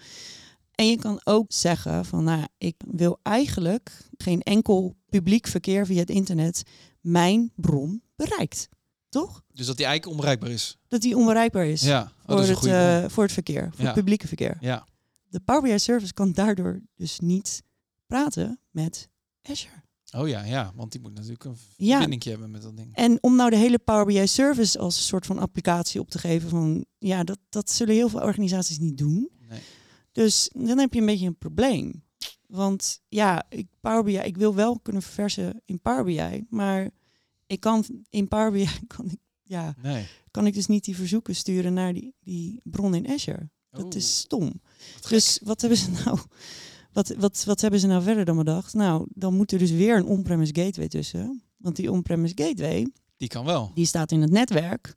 En je kan ook zeggen van, nou, ja, ik wil eigenlijk geen enkel publiek verkeer via het internet mijn bron bereikt. Toch? Dus dat die eiken onbereikbaar is. Dat die onbereikbaar is Ja, oh, voor, dat is een het, goede. eh, voor het verkeer, voor Ja. het publieke verkeer. ja. De Power BI Service kan daardoor dus niet praten met Azure. Oh ja, ja, want die moet natuurlijk een Ja. verbinding hebben met dat ding. En om nou de hele Power BI Service als een soort van applicatie op te geven van ja, dat, dat zullen heel veel organisaties niet doen. Nee. Dus dan heb je een beetje een probleem. Want ja, ik, Power BI, ik wil wel kunnen verversen in Power BI, maar ik kan in Power BI kan ik, ja, Nee. kan ik dus niet die verzoeken sturen naar die, die bron in Azure. Dat Oeh, is stom. Oh. wat gek. Dus wat hebben ze nou? Wat, wat, wat hebben ze nou verder dan bedacht? Nou, dan moet er dus weer een on-premise gateway tussen. Want die on-premise gateway, Die kan wel. die staat in het netwerk,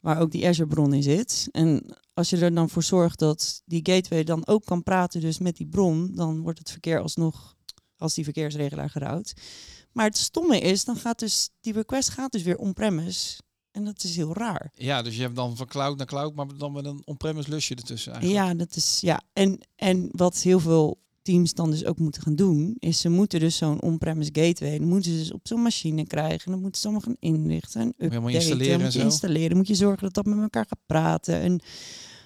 waar ook die Azure-bron in zit. En als je er dan voor zorgt dat die gateway dan ook kan praten dus met die bron, dan wordt het verkeer alsnog als die verkeersregelaar gerouwd. Maar het stomme is, dan gaat dus die request gaat dus weer on-premise. En dat is heel raar. Ja, dus je hebt dan van cloud naar cloud, maar dan met een on-premise lusje ertussen eigenlijk. Ja, dat is ja. En, en wat heel veel teams dan dus ook moeten gaan doen, is ze moeten dus zo'n on-premise gateway, dan moeten ze dus op zo'n machine krijgen, dan moeten ze allemaal gaan inrichten, en updaten, helemaal installeren en moet je zo. installeren, moet je zorgen dat dat met elkaar gaat praten en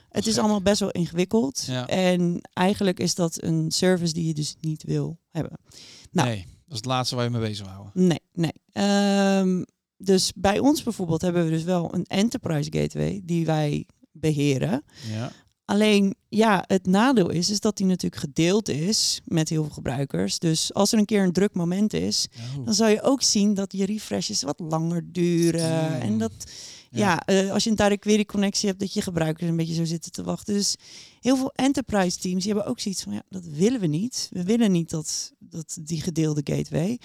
het is Gek. allemaal best wel ingewikkeld. Ja. En eigenlijk is dat een service die je dus niet wil hebben. nou. Nee, dat is het laatste waar je mee bezig wil houden. Nee, nee. Ehm, dus bij ons bijvoorbeeld hebben we dus wel een enterprise gateway die wij beheren. Ja. Alleen ja, het nadeel is, is dat die natuurlijk gedeeld is met heel veel gebruikers. Dus als er een keer een druk moment is, Oh. dan zal je ook zien dat je refreshes wat langer duren. Mm. En dat, Ja. ja, eh, als je een direct query connectie hebt, dat je gebruikers een beetje zo zitten te wachten. Dus heel veel enterprise teams die hebben ook zoiets van, ja, dat willen we niet. We willen niet dat, dat die gedeelde gateway.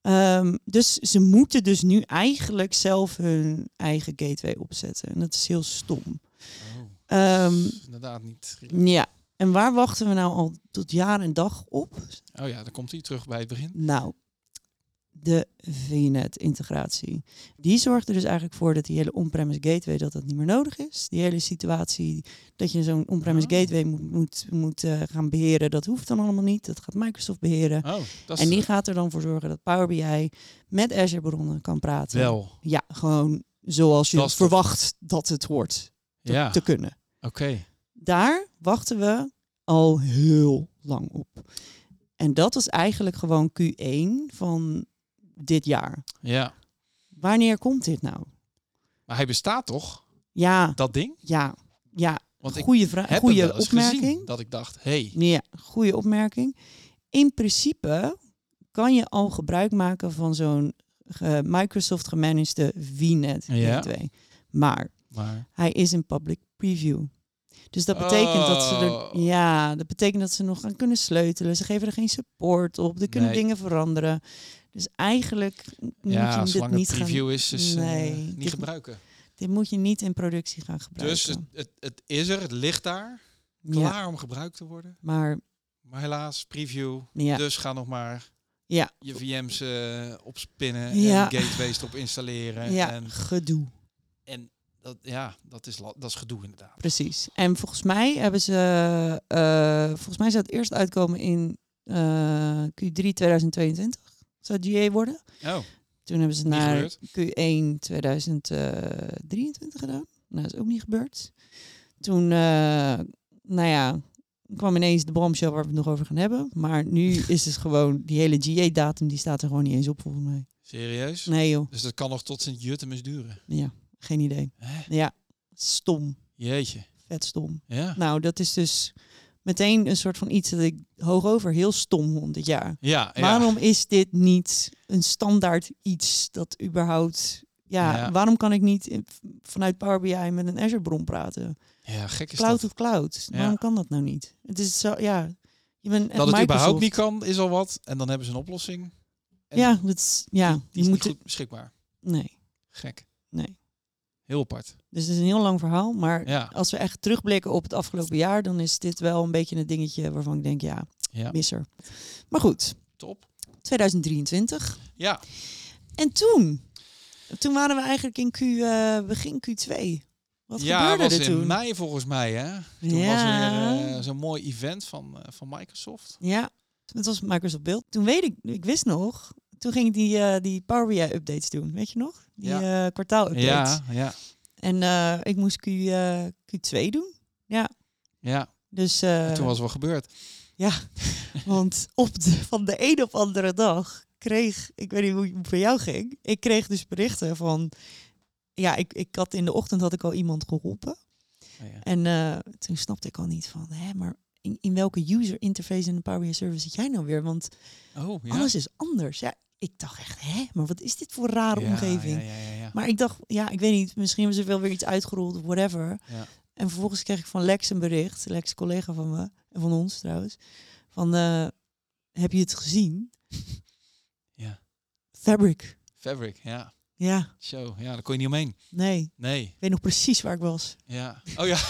Ehm, dus ze moeten dus nu eigenlijk zelf hun eigen gateway opzetten. En dat is heel stom. Oh. Ehm, Dat is inderdaad niet. ja, en waar wachten we nou al tot jaar en dag op? Oh ja, dan komt hij terug bij het begin. Nou, de VNet-integratie. Die zorgt er dus eigenlijk voor dat die hele on-premise gateway dat dat niet meer nodig is. Die hele situatie dat je zo'n on-premise Oh. gateway moet, moet, moet eh, gaan beheren, dat hoeft dan allemaal niet. Dat gaat Microsoft beheren. Oh, dat is En die gaat er dan voor zorgen dat Power BI met Azure-bronnen kan praten. wel. Ja, gewoon zoals je Dat is toch- verwacht dat het hoort te- Ja, te oké. kunnen. daar wachten we al heel lang op. En dat was eigenlijk gewoon Q1 van dit jaar. Ja. Wanneer komt dit nou? Maar hij bestaat toch, Ja, dat ding? ja, ja. Want ik Goede vraag, heb hem goede wel eens opmerking. gezien dat ik dacht, hey, Ja, goede opmerking. In principe kan je al gebruik maken van zo'n ge- Microsoft gemanagede VNet Ja. gateway. Maar maar Hij is in public preview. Dus dat betekent dat ze er, Oh. ja, dat betekent dat ze nog gaan kunnen sleutelen. Ze geven er geen support op. Er kunnen Nee. dingen veranderen. Dus eigenlijk m- ja, moet je dit zolang het niet gaan. preview is, is eh, Nee, niet dit- gebruiken. Dit moet je niet in productie gaan gebruiken. Dus het, het, het is er, het ligt daar, ja, klaar om gebruikt te worden. maar Maar helaas, preview, ja, dus ga nog maar Ja. je VM's eh, opspinnen Ja. en gateways erop installeren. ja, En, gedoe. en dat, ja, dat is, la- dat is gedoe inderdaad. Precies. En volgens mij hebben ze, eh, volgens mij zou het eerst uitkomen in eh, Q3 2022. Zou het GA worden? Oh, Toen hebben ze niet naar gebeurd. Q1 2023 gedaan. Nou, dat is ook niet gebeurd. Toen, eh, nou ja, kwam ineens de bombshell waar we het nog over gaan hebben. Maar nu is het gewoon, die hele GA-datum, die staat er gewoon niet eens op volgens mij. Serieus? Nee joh, Dus dat kan nog tot Sint-Jutemus duren. ja, geen idee. Hè? Ja, stom, Jeetje, vet stom. ja. Nou, dat is dus meteen een soort van iets dat ik hoog over heel stom vond dit jaar. Ja, ja. Waarom is dit niet een standaard iets dat überhaupt... Ja, Ja. waarom kan ik niet in- vanuit Power BI met een Azure-bron praten? Ja, gek is Cloud dat. op cloud. Ja. Waarom kan dat nou niet? Het is zo, ja... Je bent echt Dat het Microsoft. überhaupt niet kan, is al wat. En dan hebben ze een oplossing. En ja, dat is, ja, die, je is moet... niet goed beschikbaar. Nee, Gek. nee. Heel apart. Dus het is een heel lang verhaal. Maar Ja. als we echt terugblikken op het afgelopen jaar, dan is dit wel een beetje een dingetje waarvan ik denk, ja, Ja. misser. Maar goed, Top. 2023. Ja. En toen? Toen waren we eigenlijk in Q, eh, begin Q2. Wat ja, gebeurde was er in toen? mei volgens mij, hè? Toen was Ja. er eh, zo'n mooi event van, eh, van Microsoft. Ja, het was Microsoft Build. Toen weet ik, ik wist nog, toen ging ik die, eh, die Power BI updates doen, weet je nog? Die Ja. eh, kwartaal updates. Ja, ja, En eh, ik moest Q, eh, Q2 doen. ja. Dus, eh, En toen was het wel gebeurd. want op de, van de een op andere dag kreeg, ik weet niet hoe het voor jou ging, ik kreeg dus berichten van, ja, ik, ik had in de ochtend had ik al iemand geholpen. Oh, Ja. En eh, toen snapte ik al niet van, hè, maar in, in welke user interface in de Power BI service zit jij nou weer? Want Oh, ja. alles is anders. Ja, ik dacht echt, hè, maar wat is dit voor een rare Ja, omgeving? Ja, ja, ja, ja. Maar ik dacht, ja, ik weet niet, misschien hebben ze wel weer iets uitgerold of whatever. Ja. En vervolgens kreeg ik van Lex een bericht, Lex, collega van me, en van ons trouwens, van, eh, heb je het gezien? Ja. Fabric. Fabric, ja. Ja, Zo, ja, daar kon je niet omheen. nee, Nee, ik weet nog precies waar ik was. ja. Oh ja,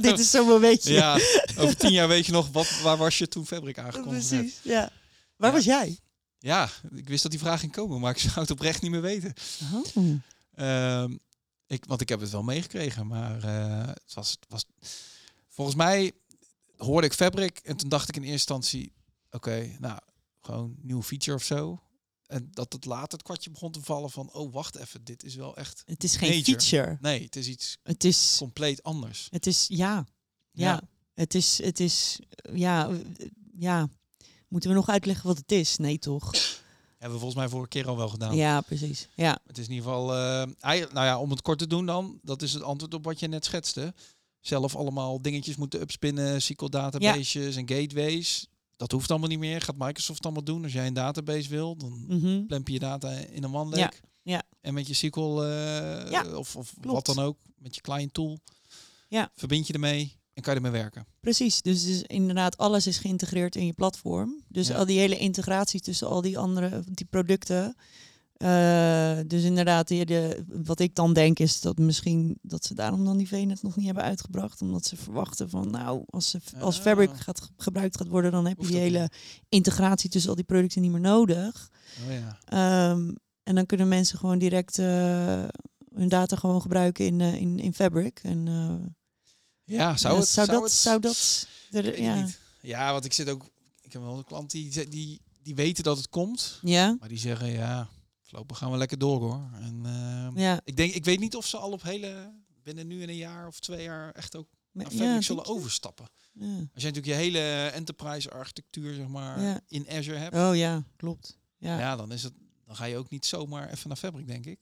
Dit is zo'n momentje. ja. Over tien jaar weet je nog, wat, waar was je toen Fabric aangekondigd werd? precies, ja. Waar Ja. was jij? Ja, ik wist dat die vraag ging komen, maar ik zou het oprecht niet meer weten. Oh. Ehm, ik, want ik heb het wel meegekregen, maar eh, het was, het was... Volgens mij hoorde ik Fabric en toen dacht ik in eerste instantie... Oké, nou, gewoon nieuw feature of zo. En dat het later het kwartje begon te vallen van... Oh, wacht even, dit is wel echt... Het is geen Major. feature. Nee, het is iets Het is, compleet anders. het is, ja, Ja, het is, het is, eh, ja, eh, ja. Moeten we nog uitleggen wat het is? Nee, toch? Hebben we volgens mij vorige keer al wel gedaan. Ja, precies. Ja, Het is in ieder geval, eh, eigenlijk- nou ja, om het kort te doen dan, dat is het antwoord op wat je net schetste. Zelf allemaal dingetjes moeten upspinnen, SQL databases en gateways. Dat hoeft allemaal niet meer. Gaat Microsoft allemaal doen. Als jij een database wil, dan mhm. plemp je je data in een OneLake. ja. En met je SQL eh, Ja, of, of wat klopt. dan ook, met je client tool, Ja. verbind je ermee en kan je ermee werken. precies. Dus, dus inderdaad, alles is geïntegreerd in je platform. Dus Ja. al die hele integratie tussen al die andere die producten. Eh, dus inderdaad, die- de, wat ik dan denk is dat misschien dat ze daarom dan die VNet nog niet hebben uitgebracht. Omdat ze verwachten van nou, als, ze, als Ah. Fabric gaat, ge- gebruikt gaat worden, dan heb je Hoeft die dat hele integratie tussen al die producten niet meer nodig. Oh ja. Ehm, en dan kunnen mensen gewoon direct eh, hun data gewoon gebruiken in, eh, in, in Fabric. En, eh, Ja, zou ja, het? zou, dat, het- zou dat... de- Ik weet het ja. niet. Ja, want ik zit ook, ik heb wel een klant die, ze- die, die weten dat het komt. ja, Maar die zeggen, ja, voorlopig gaan we lekker door hoor. En, ehm, ja. ik, denk, ik weet niet of ze al op hele, binnen nu in een jaar of twee jaar, echt ook Maar- naar ja, Fabric denk zullen je? overstappen. Ja. Als je natuurlijk je hele enterprise architectuur, zeg maar, Ja. in Azure hebt, Oh ja, klopt. Ja. ja. dan is het... Dan ga je ook niet zomaar even naar Fabric, denk ik.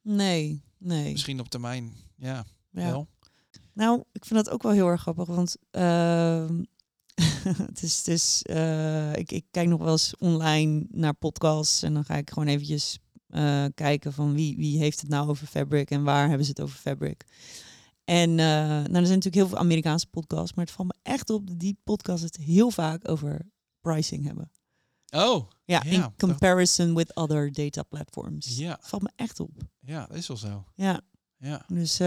Nee, nee. Misschien op termijn, ja, Ja. wel. Nou, ik vind dat ook wel heel erg grappig, want ehm, het is, het is eh, ik, ik kijk nog wel eens online naar podcasts en dan ga ik gewoon eventjes eh, kijken van wie, wie heeft het nou over Fabric en waar hebben ze het over Fabric. En eh, nou, er zijn natuurlijk heel veel Amerikaanse podcasts, maar het valt me echt op dat die podcasts het heel vaak over pricing hebben. Oh, Ja, Ja, in dat- comparison with other data platforms. ja, Valt me echt op. ja, dat is wel zo. Ja. Ja, Dus, eh,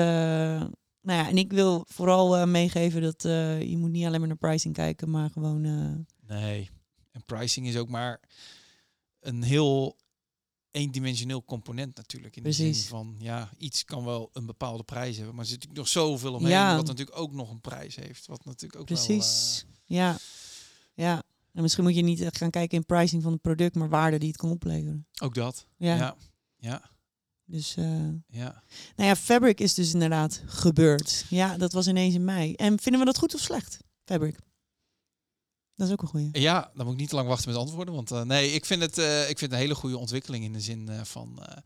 nou ja, en ik wil vooral eh, meegeven dat eh, je moet niet alleen maar naar pricing kijken, maar gewoon, eh, nee. En pricing is ook maar een heel eendimensioneel component natuurlijk. In de Precies. zin van, ja, iets kan wel een bepaalde prijs hebben, maar er zit natuurlijk nog zoveel omheen, Ja. wat natuurlijk ook nog een prijs heeft. Wat natuurlijk ook precies. eh, Ja, ja. En misschien moet je niet echt gaan kijken in pricing van het product, maar waarde die het kan opleveren. wel... eh, ook dat. Ja. Ja. ja, ja, Dus, eh, nou ja, Fabric is dus inderdaad gebeurd. Ja, dat was ineens in mei. En vinden we dat goed of slecht? Fabric. Dat is ook een goeie. Ja, dan moet ik niet te lang wachten met antwoorden, want eh, nee, ik vind het eh, ik vind het een hele goede ontwikkeling in de zin eh, van... eh,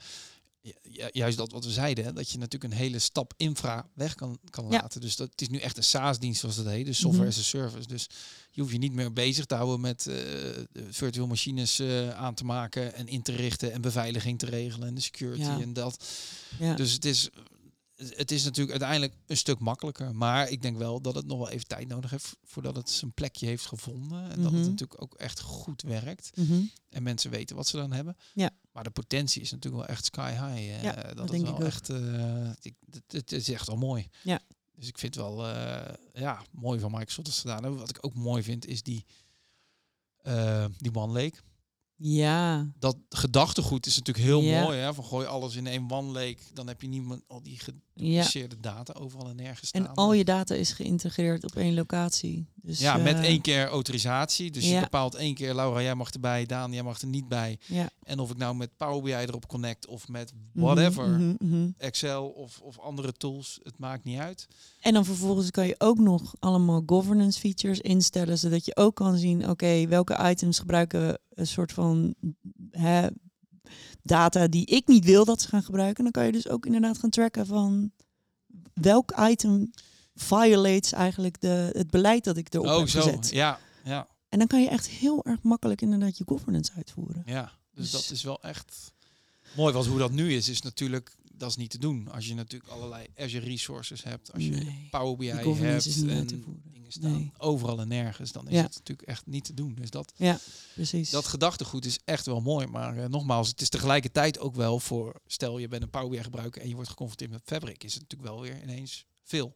ju- ju- Juist dat wat we zeiden, hè, dat je natuurlijk een hele stap infra weg kan, kan Ja. laten. Dus dat het is nu echt een SaaS-dienst, zoals dat heet, dus software Mhm. as a service. Dus je hoeft je niet meer bezig te houden met eh, virtual machines eh, aan te maken en in te richten en beveiliging te regelen en de security Ja. en dat. Ja. Dus het is het is natuurlijk uiteindelijk een stuk makkelijker. Maar ik denk wel dat het nog wel even tijd nodig heeft voordat het zijn plekje heeft gevonden. En dat het Mhm. natuurlijk ook echt goed werkt. Mhm. En mensen weten wat ze dan hebben. Ja. Maar de potentie is natuurlijk wel echt sky high. eh, Ja, dat dat is denk wel ik ook. echt. eh, ik- het- het is echt al mooi. Ja. Dus ik vind het wel eh, ja, mooi van Microsoft dat ze het gedaan hebben. Wat ik ook mooi vind is die, eh die One Lake Ja, dat gedachtegoed is natuurlijk heel Ja. mooi. Hè? Van gooi alles in één one lake. Dan heb je niemand al die ja. gepubliceerde data overal en nergens staan. En al je data is geïntegreerd op één locatie. Dus, ja, met eh, één keer autorisatie. Dus je ja. bepaalt één keer, Laura, jij mag erbij. Daan, jij mag er niet bij. Ja. En of ik nou met Power BI erop connect of met Mhm, whatever. mhm, mhm. Excel of, of andere tools, het maakt niet uit. En dan vervolgens kan je ook nog allemaal governance features instellen, zodat je ook kan zien, oké, welke items gebruiken een soort van hè, data die ik niet wil dat ze gaan gebruiken. En dan kan je dus ook inderdaad gaan tracken van welk item violates eigenlijk de, het beleid dat ik erop oh, heb zo. gezet. Ja, ja, En dan kan je echt heel erg makkelijk inderdaad je governance uitvoeren. ja. Dus Dus- dat is wel echt mooi. Want hoe dat nu is, is natuurlijk, dat is niet te doen. Als je natuurlijk allerlei Azure resources hebt. Als je Nee. Power BI Die governance hebt is niet en uit te voeren. dingen staan Nee. overal en nergens, dan is Ja. het natuurlijk echt niet te doen. Dus dat, Precies. dat gedachtegoed is echt wel mooi. Maar eh, nogmaals, het is tegelijkertijd ook wel voor, stel je bent een Power BI gebruiker en je wordt geconfronteerd met Fabric, is het natuurlijk wel weer ineens veel.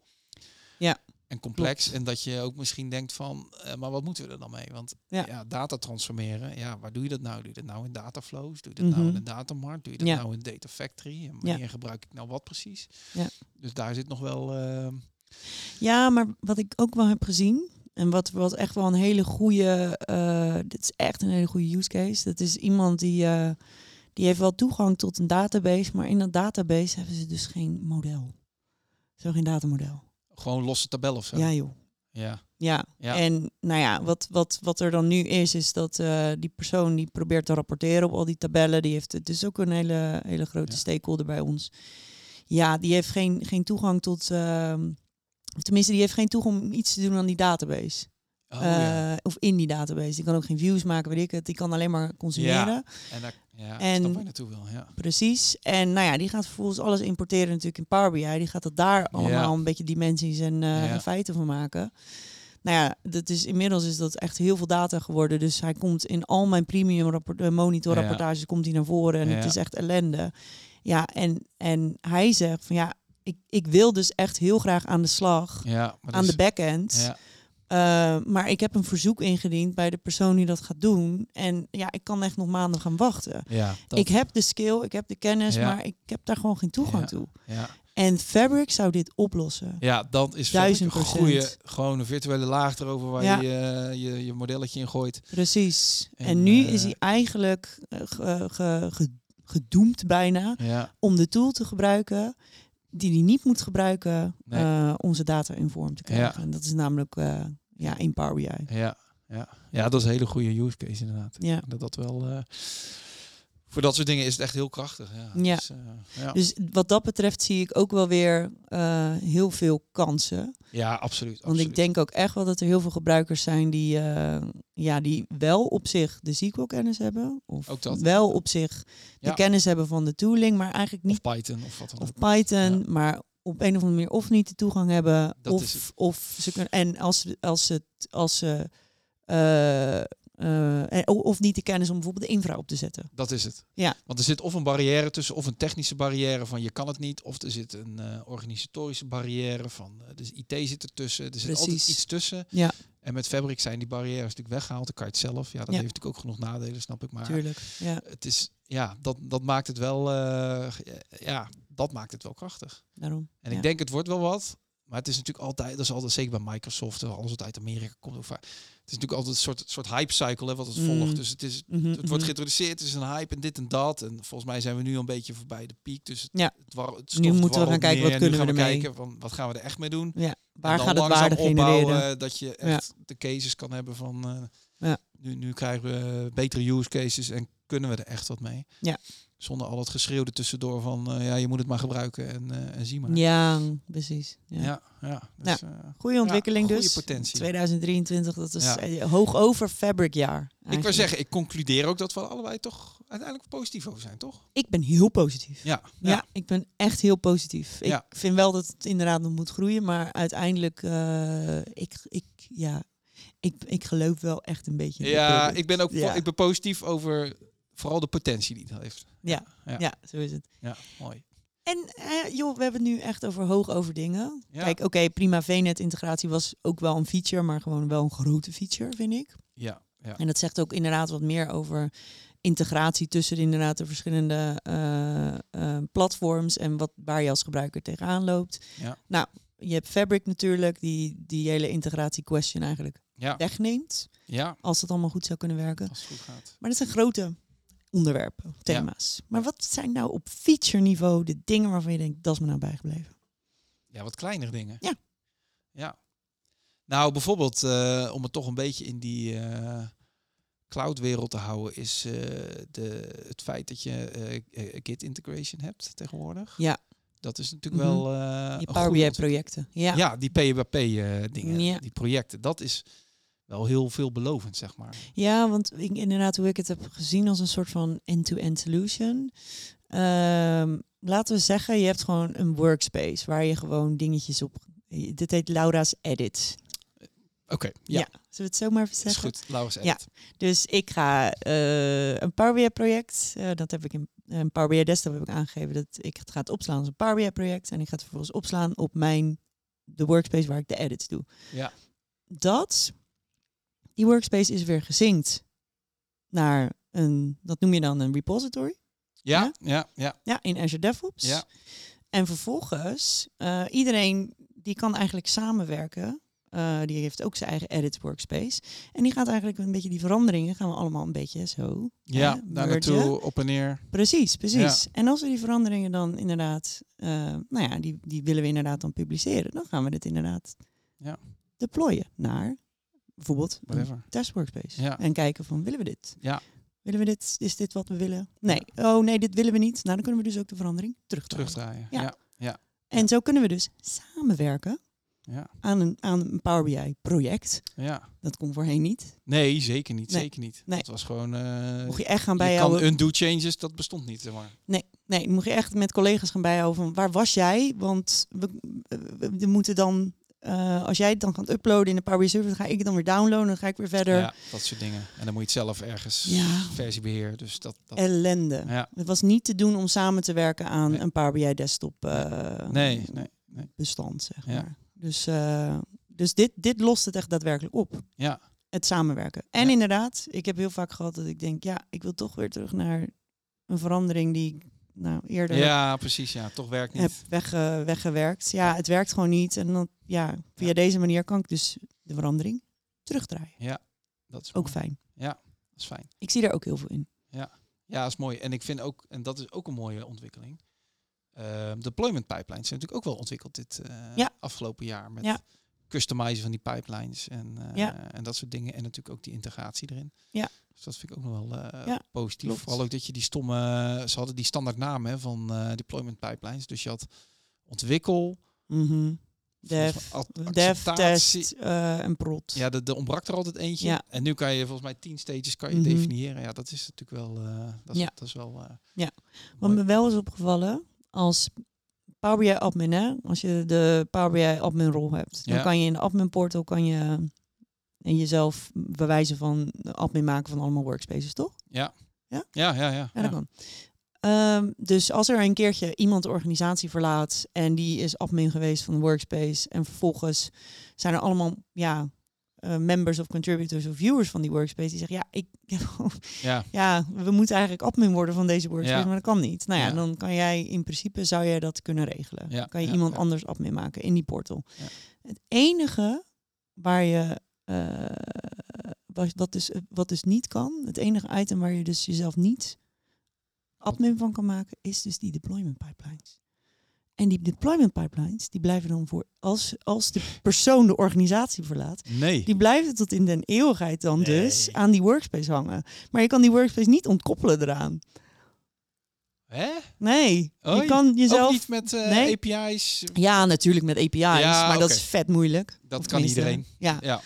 Ja. En complex. En dat je ook misschien denkt van, eh, maar wat moeten we er dan mee? Want ja. Ja. data transformeren, ja, waar doe je dat nou? Doe je dat nou in dataflows? Doe je dat nou Mhm. in een datamarkt? Doe je dat Ja. nou in data factory? En Ja. wanneer gebruik ik nou wat precies? Ja. Dus daar zit nog wel... eh, Ja, maar wat ik ook wel heb gezien. En wat, wat echt wel een hele goede. eh, dit is echt een hele goede use case. Dat is iemand die. eh, die heeft wel toegang tot een database. Maar in dat database hebben ze dus geen model. Zo geen datamodel. Gewoon losse tabel of zo. Ja, joh. Ja. Ja. Ja. en nou ja, wat, wat, wat er dan nu is, is dat eh, die persoon die probeert te rapporteren op al die tabellen, die heeft het dus ook een hele, hele grote Ja. stakeholder bij ons. Ja, die heeft geen, geen toegang tot, ehm, of tenminste, die heeft geen toegang om iets te doen aan die database. Oh, ja. Eh, Of in die database. Die kan ook geen views maken, weet ik het. Die kan alleen maar consumeren. En daar ja, en- snap waar je naartoe wil. Ja. Precies. En nou ja, die gaat vervolgens alles importeren natuurlijk in Power BI. Die gaat dat daar allemaal een beetje dimensies en, eh, Ja. en feiten van maken. Nou ja, dat is, inmiddels is dat echt heel veel data geworden. Dus hij komt in al mijn premium rapport, eh, monitor Ja. rapportages komt hij naar voren. En het Ja. is echt ellende. Ja, en, en hij zegt van ja, ik, ik wil dus echt heel graag aan de slag. Ja, maar Aan dus- de backend. ja. Eh, maar ik heb een verzoek ingediend bij de persoon die dat gaat doen. En ja, ik kan echt nog maanden gaan wachten. Ja, dat, Ik heb de skill, ik heb de kennis, Ja. maar ik heb daar gewoon geen toegang Ja. toe. ja. En Fabric zou dit oplossen. ja, dat is verder Duizend een procent. goede, gewoon een virtuele laag erover waar Ja. je, eh, je je modelletje in gooit. Precies. En, En, nu eh, is hij eigenlijk eh, ge- ge- ge- gedoemd bijna Ja, om de tool te gebruiken die hij niet moet gebruiken Nee. eh, om zijn data in vorm te krijgen. En dat is namelijk eh, ja, in Power BI. ja, ja. ja, dat is een hele goede use case inderdaad. Ja. Dat, dat wel, eh, voor dat soort dingen is het echt heel krachtig. Ja, Ja. Dus, eh, ja. Dus wat dat betreft zie ik ook wel weer eh, heel veel kansen. ja absoluut. Want absoluut. ik denk ook echt wel dat er heel veel gebruikers zijn die, eh, ja, die wel op zich de SQL-kennis hebben. Of Ook dat. wel op zich de Ja. kennis hebben van de tooling, maar eigenlijk Of niet. Python of wat dan Of, ook. Python, Ja. maar op een of andere manier of niet de toegang hebben. Dat is Of, het. of ze kunnen. En als, ze- als ze. Als ze eh, eh, en- of niet de kennis om bijvoorbeeld de infra op te zetten. Dat is het. Ja. Want er zit of een barrière tussen, of een technische barrière van je kan het niet, of er zit een eh, organisatorische barrière van, eh, dus IT zit ertussen, er zit altijd Precies. iets tussen. Ja. En met Fabric zijn die barrières natuurlijk weggehaald, dan kan je het zelf. Ja, dat Ja. heeft natuurlijk ook genoeg nadelen, snap ik. Maar Tuurlijk. Ja, het is, ja, dat, dat maakt het wel, eh, ja, dat maakt het wel krachtig. daarom. En Ja. ik denk het wordt wel wat. Maar het is natuurlijk altijd, dat is altijd zeker bij Microsoft, en alles wat uit Amerika komt. Of, eh, het is natuurlijk altijd een soort, soort hype cycle hè, wat het Mm. volgt. Dus het is, Mhm, het wordt mhm. geïntroduceerd, het is een hype en dit en dat. En volgens mij zijn we nu al een beetje voorbij de piek. Dus het, Ja. het, war, het Nu stof moeten we dwarrelt gaan kijken, neer. wat Nu kunnen we gaan ermee? kijken van wat gaan we er echt mee doen. Waar En gaat dan het langzaam waarde opbouwen genereren? eh, dat je echt de cases kan hebben van eh, Ja. nu, nu krijgen we betere use cases en kunnen we er echt wat mee. Ja. Zonder al dat geschreeuw er tussendoor van eh, ja, je moet het maar gebruiken en, eh, en zie maar. Ja, precies. Ja. ja. ja. Dus, eh, Goede ontwikkeling goede dus. potentie. 2023, dat is Ja. eh, hoog over Fabric jaar. ik wil wil zeggen, ik concludeer ook dat we allebei toch uiteindelijk positief over zijn, toch? ik ben heel positief. Ja. Ja, ik ben echt heel positief. Ik Ja. vind wel dat het inderdaad nog moet groeien, maar uiteindelijk, eh, ik, ik, ja, ik, ik geloof wel echt een beetje. in dit Ja, product. ik ben ook po- Ja. ik ben positief over vooral de potentie die het heeft. ja. ja, zo is het. Ja, mooi. En eh, joh, we hebben het nu echt over hoog over dingen. Ja. Kijk, oké, prima VNet-integratie was ook wel een feature, maar gewoon wel een grote feature, vind ik. Ja, ja. En dat zegt ook inderdaad wat meer over integratie tussen inderdaad de verschillende eh, eh, platforms en wat, waar je als gebruiker tegenaan loopt. Ja. Nou, je hebt Fabric natuurlijk, die die hele integratie-question eigenlijk Ja, wegneemt, ja, als dat allemaal goed zou kunnen werken. als het goed gaat. Maar dat zijn grote onderwerpen, thema's. Maar wat zijn nou op feature-niveau de dingen waarvan je denkt, dat is me nou bijgebleven? Ja, wat kleinere dingen. Ja. Ja. Nou, bijvoorbeeld, eh, om het toch een beetje in die eh cloudwereld te houden, is eh, de, het feit dat je eh, eh, Git integration hebt tegenwoordig. Ja. Dat is natuurlijk Mhm. wel eh, Je een Power goede BI projecten. Ja. Ja, ja. die PWP eh dingen, Ja. die projecten, dat is wel heel veelbelovend, zeg maar. want ik, inderdaad, hoe ik het heb gezien als een soort van end-to-end solution. Ehm, laten we zeggen, je hebt gewoon een workspace waar je gewoon dingetjes op. Dit heet Laura's Edit. Oké, ja, Ja. Zullen we het zomaar even is zeggen? goed. Laurens Ja. Edit. Dus ik ga eh, een Power BI project, eh, dat heb ik in een Power BI desktop heb ik aangegeven dat ik het ga het opslaan als een Power BI project en ik ga het vervolgens opslaan op mijn de workspace waar ik de edits doe. Ja. Dat die workspace is weer gezinkt naar een dat noem je dan een repository. Ja, ja, ja, Ja, in Azure DevOps. ja, En vervolgens, eh, iedereen die kan eigenlijk samenwerken. Eh, die heeft ook zijn eigen edit workspace. En die gaat eigenlijk een beetje die veranderingen gaan we allemaal een beetje zo. ja. hè, Daar mergen. naartoe, op en neer. Precies, precies. En als we die veranderingen dan inderdaad, eh, nou ja, die, die willen we inderdaad dan publiceren. Dan gaan we dit inderdaad Ja. deployen naar bijvoorbeeld een Whatever. test workspace. Ja. En kijken van willen we dit? Ja. Willen we dit? Is dit wat we willen? Nee. Oh nee, dit willen we niet. Nou, dan kunnen we dus ook de verandering terugdraaien. Terugdraaien. Ja. Ja. ja, ja, En zo kunnen we dus samenwerken ja, aan een, aan een Power BI project. Dat kon voorheen niet. Nee, zeker niet, Nee, zeker niet. nee. Dat was gewoon... eh Mocht je echt gaan je kan bijhouden. undo changes, dat bestond niet, zeg maar. Nee, mocht je echt met collega's gaan bijhouden van waar was jij? Want we, we- we moeten dan, eh, als jij het dan gaat uploaden in de Power BI server, dan ga ik het dan weer downloaden, dan ga ik weer verder. Ja, dat soort dingen. En dan moet je het zelf ergens Ja. Eh, versiebeheer. Dus dat... dat Ellende. ja. Het was niet te doen om samen te werken aan Nee. een Power BI desktop eh, Nee, nee, nee. bestand, zeg Ja. maar. Dus, eh, dus dit, dit lost het echt daadwerkelijk op. Ja, het samenwerken. En Ja. inderdaad, ik heb heel vaak gehad dat ik denk, ja, ik wil toch weer terug naar een verandering die ik nou eerder ja, precies. Ja, toch werkt heb niet. wegge- weggewerkt. Ja, het werkt gewoon niet. En dan, ja, via Ja. deze manier kan ik dus de verandering terugdraaien. Dat is Ook mooi. fijn. Dat is fijn. Ik zie daar ook heel veel in. Ja, dat is mooi. En ik vind ook, en dat is ook een mooie ontwikkeling. Ehm, deployment pipelines zijn natuurlijk ook wel ontwikkeld dit eh, Ja. afgelopen jaar. Met Ja. customizen van die pipelines en, eh, Ja. en dat soort dingen. En natuurlijk ook die integratie erin. Ja. Dus dat vind ik ook nog wel eh, Ja, positief. klopt. Vooral ook dat je die stomme, ze hadden die standaard namen hè, van eh, deployment pipelines. Dus je had ontwikkel, Mhm. volgens Dev, mij ac- dev, acceptatie. test eh, en prot. Ja, er, er ontbrak er altijd eentje. Ja. En nu kan je volgens mij tien stages kan je Mhm. definiëren. Ja, dat is natuurlijk wel. eh, dat, is, Ja. dat is wel. eh, Ja. Wat mooi. me wel is opgevallen, als Power BI admin, hè, als je de Power BI admin rol hebt, dan Ja. kan je in de admin portal kan je eh, en jezelf bewijzen van admin maken van allemaal workspaces, toch? Ja. Ja? Ja, ja, ja. Ja, ja. dat kan. Ehm, dus als er een keertje iemand de organisatie verlaat en die is admin geweest van de workspace en vervolgens zijn er allemaal ja, eh, members of contributors of viewers van die workspace die zeggen ja, ik, Ja, ja, we moeten eigenlijk admin worden van deze workspace, Ja. maar dat kan niet. Nou ja, Ja. dan kan jij in principe zou jij dat kunnen regelen. Ja, Dan kan je ja, iemand ja. anders admin maken in die portal. Ja. Het enige waar je eh, wat, wat, dus, wat dus niet kan, het enige item waar je dus jezelf niet admin van kan maken, is dus die deployment pipelines. En die deployment pipelines, die blijven dan voor, als, als de persoon de organisatie verlaat, Nee. die blijven tot in den eeuwigheid dan dus Nee. aan die workspace hangen. Maar je kan die workspace niet ontkoppelen eraan. Hè? Nee, je Oei, kan Ook jezelf... niet met eh, Nee. API's. Ja, natuurlijk met API's, Ja, maar dat oké. is vet moeilijk. Dat Of kan tenminste, iedereen. Ja. Ja.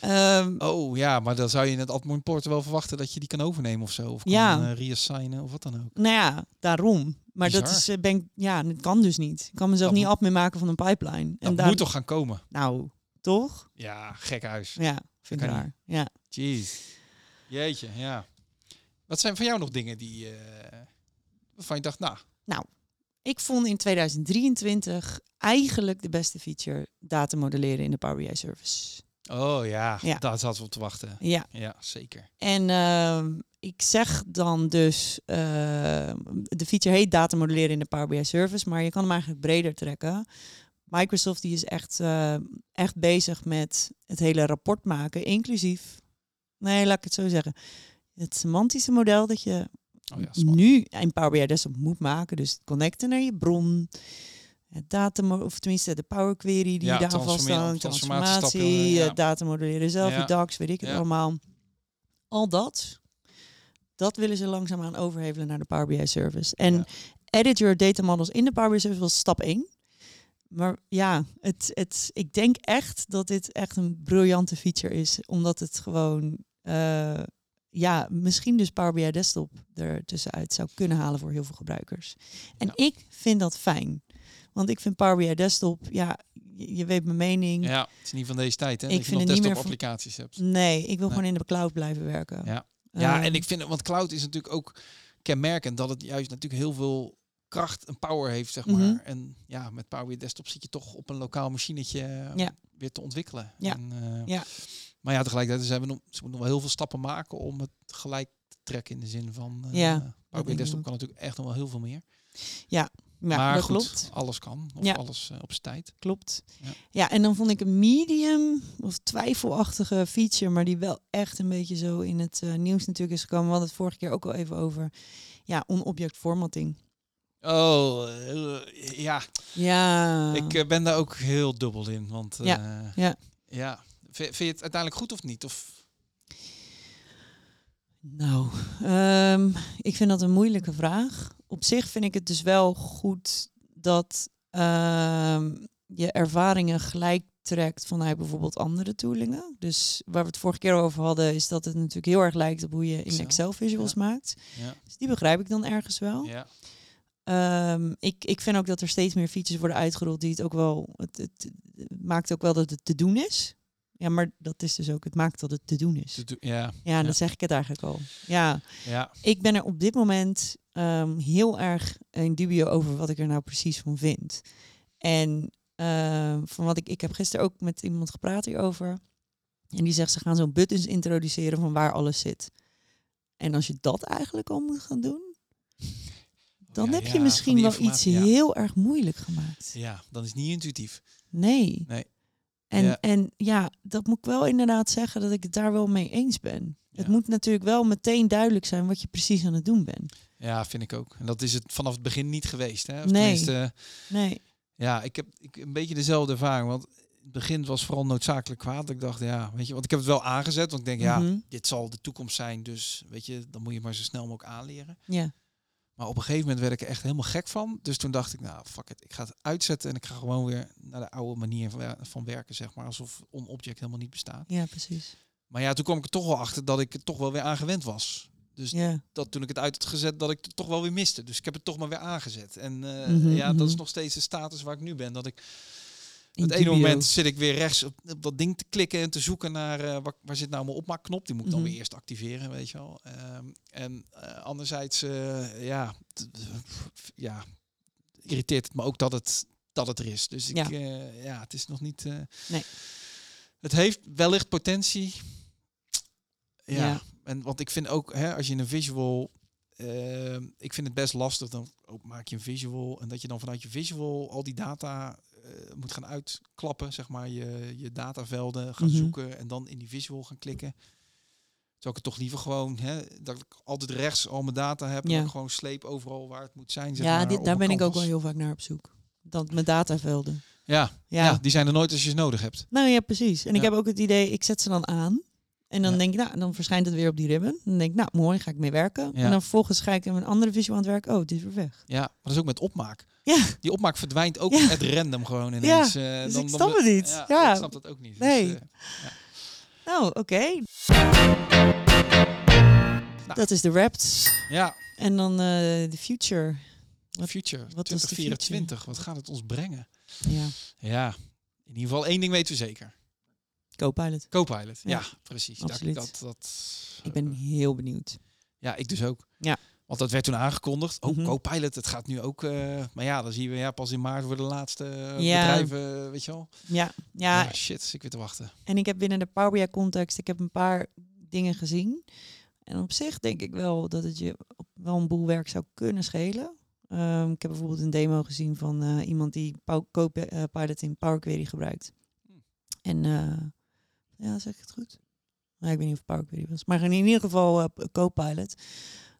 Ehm, Oh ja, maar dan zou je in het admin portal wel verwachten dat je die kan overnemen of zo. Of kan Ja. eh, reassignen of wat dan ook. nou ja, daarom. Maar dat Bizar. is, eh, ben ik, ja, dat kan dus niet. Ik kan mezelf Dat niet af meer maken van een pipeline. Dat daar- moet toch gaan komen? Nou, toch? Ja, gek huis. Ja, vind ik kan raar. Ja. Jeez. Jeetje, ja. Wat zijn van jou nog dingen die... eh, waarvan je dacht, nou... Ik vond in 2023 eigenlijk de beste feature data modelleren in de Power BI service. Oh ja, Ja. daar zaten we op te wachten. Ja, Ja, zeker. en ehm, ik zeg dan dus, ehm, de feature heet data modelleren in de Power BI service, maar je kan hem eigenlijk breder trekken. Microsoft die is echt, eh, echt bezig met het hele rapport maken, inclusief, nee, laat ik het zo zeggen, het semantische model dat je Oh ja, smart. nu in Power BI Desktop moet maken. Dus het connecten naar je bron, het data, of tenminste de Power Query die Ja, daar vast transformeren- aan, transformatiestappen, transformatie, ja. eh, data modelleren zelf, Ja. je DAX, weet ik het Ja. allemaal. Al dat, dat willen ze langzaamaan overhevelen naar de Power BI Service. En Ja. edit your data models in de Power BI Service was stap 1. Maar ja, het, het, ik denk echt dat dit echt een briljante feature is. Omdat het gewoon, eh, ja, misschien dus Power BI Desktop er tussenuit zou kunnen halen voor heel veel gebruikers. En Ja. ik vind dat fijn. Want ik vind Power BI Desktop, ja, je, je weet mijn mening. Ja, het is niet van deze tijd, hè? Ik dat vind je het nog niet meer desktop applicaties hebt. Nee, ik wil Nee. gewoon in de cloud blijven werken. Ja. Ja, Eh, en ik vind het, want cloud is natuurlijk ook kenmerkend dat het juist natuurlijk heel veel kracht en power heeft, zeg maar. Mhm. En ja, met Power BI Desktop zit je toch op een lokaal machinetje eh, Ja. weer te ontwikkelen. Ja. En, eh, Ja. Maar ja, tegelijkertijd zijn we nog, ze moeten nog wel heel veel stappen maken om het gelijk te trekken in de zin van eh, Ja, Power denk BI ik Desktop ook. kan natuurlijk echt nog wel heel veel meer. ja, maar dat goed, klopt. alles kan. Of Ja. alles eh, op zijn tijd. Klopt. Ja. Ja. en dan vond ik een medium of twijfelachtige feature, maar die wel echt een beetje zo in het eh, nieuws natuurlijk is gekomen. We hadden het vorige keer ook al even over. Ja, on-object formatting. Oh, eh, ja. Ja. Ik eh, ben daar ook heel dubbel in. Want eh, ja. ja. V- Vind je het uiteindelijk goed of niet? Of, Nou, ehm, ik vind dat een moeilijke vraag. Op zich vind ik het dus wel goed dat ehm, je ervaringen gelijk trekt vanuit bijvoorbeeld andere toolingen. Dus waar we het vorige keer over hadden, is dat het natuurlijk heel erg lijkt op hoe je in Excel, Excel visuals maakt. ja. Dus die begrijp ik dan ergens wel. ja. Ehm, ik, ik vind ook dat er steeds meer features worden uitgerold die het ook wel. Het, het, het maakt ook wel dat het te doen is. Ja, maar dat is dus ook, het maakt dat het te doen is. Te doen- Ja, Ja, dan zeg ik het eigenlijk al. Ja, ja. ik ben er op dit moment ehm, heel erg in dubio over wat ik er nou precies van vind. En ehm, van wat ik, ik heb gisteren ook met iemand gepraat hierover. En die zegt ze gaan zo'n buttons introduceren van waar alles zit. En als je dat eigenlijk al moet gaan doen, dan Ja, heb ja, je van misschien die wel iets informatie, ja. heel erg moeilijk gemaakt. Ja, dan is het niet intuïtief. Nee. Nee. En, Ja. en ja, dat moet ik wel inderdaad zeggen dat ik het daar wel mee eens ben. Het Ja. moet natuurlijk wel meteen duidelijk zijn wat je precies aan het doen bent. Ja, vind ik ook. En dat is het vanaf het begin niet geweest. Hè? Of Nee. tenminste, eh, Nee. ja, ik heb ik, een beetje dezelfde ervaring. Want in het begin was vooral noodzakelijk kwaad. Ik dacht, ja, weet je, want ik heb het wel aangezet. Want ik denk, ja, Mhm. dit zal de toekomst zijn. Dus weet je, dan moet je maar zo snel mogelijk aanleren. Ja. Maar op een gegeven moment werd ik er echt helemaal gek van. Dus toen dacht ik, nou, fuck it. Ik ga het uitzetten en ik ga gewoon weer naar de oude manier van, wer- van werken, zeg maar. Alsof on-object helemaal niet bestaat. Ja, precies. Maar ja, toen kwam ik er toch wel achter dat ik het toch wel weer aangewend was. Dus Ja, dat toen ik het uit had gezet, dat ik het toch wel weer miste. Dus ik heb het toch maar weer aangezet. En eh, Mhm, ja, dat mhm. is nog steeds de status waar ik nu ben. Dat ik in op het ene dubio. moment zit ik weer rechts op, op dat ding te klikken en te zoeken naar eh, waar, waar zit nou mijn opmaakknop. Die moet ik dan Mhm. weer eerst activeren, weet je wel. Ehm, en eh, anderzijds, eh, ja, t- t- pff, ja, irriteert het me ook dat het, dat het er is. Dus ik, Ja. ja, ja het is nog niet... eh, Nee. Het heeft wellicht potentie. Ja, Ja. en want ik vind ook, hè, als je een visual... ehm, ik vind het best lastig, dan ook maak je een visual en dat je dan vanuit je visual al die data eh, moet gaan uitklappen, zeg maar, je, je datavelden gaan Mhm. zoeken en dan in die visual gaan klikken. Zou ik het toch liever gewoon, hè, dat ik altijd rechts al mijn data heb en Ja. dat ik gewoon sleep overal waar het moet zijn. Zeg ja, maar, dit, op daar mijn ben ik ook wel canvas. heel vaak naar op zoek. dat mijn datavelden. Ja, Ja. ja, die zijn er nooit als je ze nodig hebt. Nou ja, precies. En ik Ja. heb ook het idee, ik zet ze dan aan. En dan Ja. denk ik, nou, dan verschijnt het weer op die ribbon. Dan denk ik, nou, mooi, ga ik mee werken. Ja. En dan vervolgens ga ik in een andere visual aan het werk. Oh, dit is weer weg. Ja, maar dat is ook met opmaak. Ja. Die opmaak verdwijnt ook Ja. at random gewoon ineens. eh, Ja, dus ik snap het niet. Ja, Ja. Ik snap dat ook niet. Dus, Nee. eh, Nou, oké. Nou. Dat is de Rapt. ja, En dan eh de Future. Wat- future. wat is de 2024, wat gaat het ons brengen? Ja, Ja, in ieder geval één ding weten we zeker. Copilot. Copilot. Ja, Ja, precies. absoluut. Dat, dat, dat, Ik ben heel benieuwd. Ja, ik dus ook. Ja. Want dat werd toen aangekondigd. Oh, Mhm. Copilot, het gaat nu ook. eh, maar ja, dan zien we ja, pas in maart worden de laatste eh, Ja. bedrijven, weet je wel. Ja, ja, Ah, shit, ik weer te wachten. en ik heb binnen de Power BI context, ik heb een paar dingen gezien. En op zich denk ik wel dat het je op- wel een boel werk zou kunnen schelen. Ehm, ik heb bijvoorbeeld een demo gezien van eh, iemand die Pow- Copi- eh, Pilot in Power Query gebruikt. En eh, ja, zeg ik het goed? Nou, ik weet niet of het Power Query was. Maar in ieder geval eh, p- Copilot.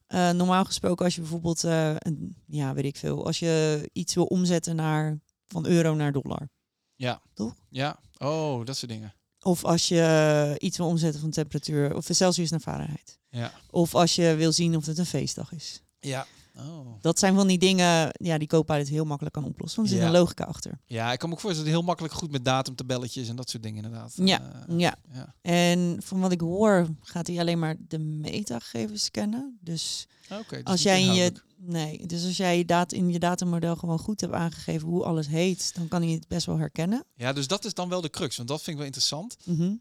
Eh normaal gesproken als je bijvoorbeeld, eh, een, ja weet ik veel, als je iets wil omzetten naar, van euro naar dollar. Ja, oh, dat soort dingen. Of als je eh, iets wil omzetten van temperatuur of van Celsius naar Fahrenheit. Ja. Of als je wil zien of het een feestdag is. Ja. Oh. Dat zijn van die dingen ja, die Copilot heel makkelijk kan oplossen. Want er zit Ja. een logica achter. Ja, ik kan me ook voorstellen dat het heel makkelijk goed met datumtabelletjes en dat soort dingen inderdaad. Ja. Eh, Ja. ja. En van wat ik hoor gaat hij alleen maar de metagegevens scannen. Dus Oké. dus als niet jij in je, inhoudelijk. nee, dus als jij je dat in je datamodel gewoon goed hebt aangegeven hoe alles heet, dan kan hij het best wel herkennen. Ja, dus dat is dan wel de crux, want dat vind ik wel interessant. Mhm.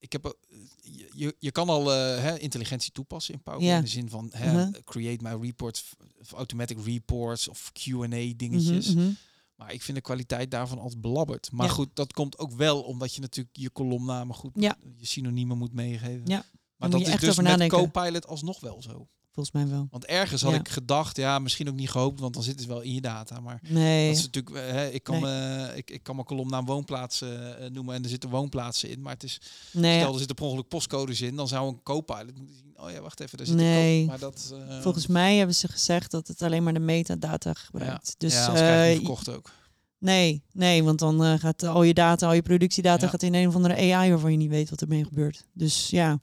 Ik heb, ook- je- je, je kan al eh, hè, intelligentie toepassen in Power BI, Ja. in de zin van hè, Mhm. create my reports, of automatic reports of Q&A dingetjes. Mhm, mhm. Maar ik vind de kwaliteit daarvan altijd belabberd. Maar Ja. goed, dat komt ook wel omdat je natuurlijk je kolomnamen goed, Ja. je synoniemen moet meegeven. Ja. Maar moet dat je is echt dus over met nadenken. Copilot alsnog wel zo. Volgens mij wel. Want ergens had Ja. ik gedacht, ja, misschien ook niet gehoopt, want dan zit het wel in je data. Maar Nee. dat is natuurlijk, eh, hè, ik, kan, eh, ik, ik kan mijn kolomnaam woonplaatsen eh, noemen en er zitten woonplaatsen in. Maar het is, nee. stel er zitten per ongeluk postcodes in, dan zou een Copilot moeten zien. Oh ja, wacht even, daar zit Nee. een code. Maar dat, eh, Volgens mij hebben ze gezegd dat het alleen maar de metadata gebruikt. Dus ja, anders krijg je eh, hem verkocht ook. nee, nee, want dan eh, gaat al je data, al je productiedata Ja. gaat in een of andere AI waarvan je niet weet wat ermee gebeurt. Dus ja.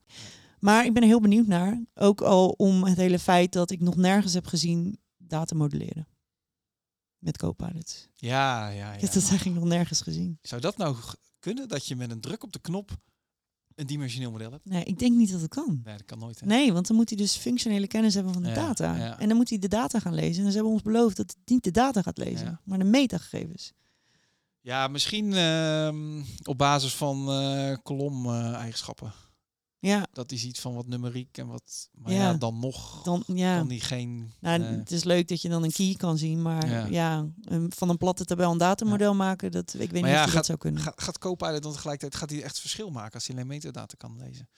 Maar ik ben er heel benieuwd naar. Ook al om het hele feit dat ik nog nergens heb gezien data modelleren. Met Copilot. Ja, ja, Ik ja. heb dat eigenlijk nog nergens gezien. Zou dat nou g- kunnen dat je met een druk op de knop een dimensioneel model hebt? Nee, ik denk niet dat het kan. Nee, dat kan nooit. Hè? Nee, want dan moet hij dus functionele kennis hebben van de Ja, data. ja. En dan moet hij de data gaan lezen. En ze hebben ons beloofd dat het niet de data gaat lezen, Ja. maar de metagegevens. Ja, misschien ehm, op basis van eh kolom-eigenschappen. Ja, dat hij ziet van wat numeriek en wat. Maar ja, Ja. dan nog Dan, ja, kan die geen. nou, eh, het is leuk dat je dan een key kan zien, maar Ja. ja, een- van een platte tabel een datamodel maken, dat, ik weet Maar niet ja, of je gaat- dat zou kunnen. Ga- gaat Copilot dan tegelijkertijd gaat hij echt verschil maken als hij alleen metadata kan lezen?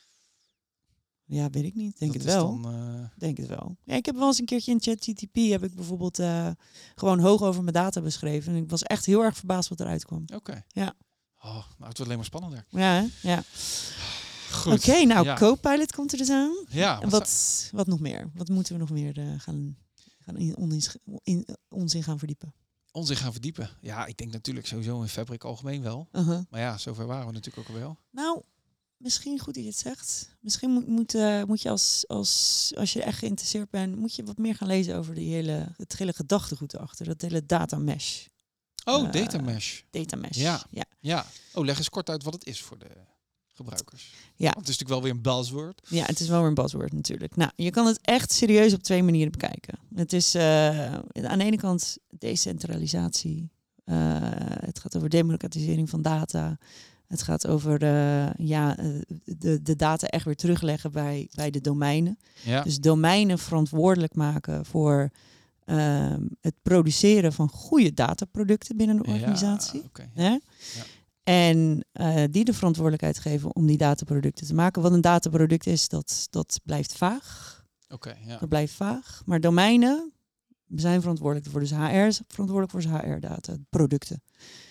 ja, weet ik niet. Denk Dat het is wel. dan, eh, Denk het wel. Ja, ik heb wel eens een keertje in ChatGTP heb ik bijvoorbeeld eh, gewoon hoog over mijn data beschreven. En ik was echt heel erg verbaasd wat eruit kwam. Oké. Ja. Oh, nou, het wordt alleen maar spannender. Ja, hè? ja. Goed. Oké, nou, Ja. Copilot komt er dus aan. Ja, En wat, wat, wat nog meer? Wat moeten we nog meer eh, gaan, gaan in, onins- in, ons in gaan verdiepen? zou ons in gaan verdiepen. Ja, ik denk natuurlijk sowieso in Fabric algemeen wel. Uh-huh. Maar ja, zover waren we natuurlijk ook wel. Nou, misschien goed dat je het zegt. Misschien moet, moet, eh, moet je als, als, als je echt geïnteresseerd bent, moet je wat meer gaan lezen over die hele, het hele gedachtegoed erachter. Dat hele data mesh. Oh, Eh, data mesh. Data mesh. Ja. ja. Ja. Oh, leg eens kort uit wat het is voor de gebruikers. Ja. Want het is natuurlijk wel weer een buzzword. Ja, het is wel weer een buzzword natuurlijk. Nou, je kan het echt serieus op twee manieren bekijken. Het is eh, aan de ene kant decentralisatie. Eh, het gaat over democratisering van data. Het gaat over eh, ja, eh, de, de data echt weer terugleggen bij, bij de domeinen. Ja. Dus domeinen verantwoordelijk maken voor ehm, het produceren van goede dataproducten binnen de organisatie. Ja, oké. Hè? En eh, die de verantwoordelijkheid geven om die dataproducten te maken. Wat een dataproduct is, dat, dat blijft vaag. Oké, ja. Dat blijft vaag. Maar domeinen zijn verantwoordelijk ervoor. Dus HR is verantwoordelijk voor dus zijn HR-data, producten.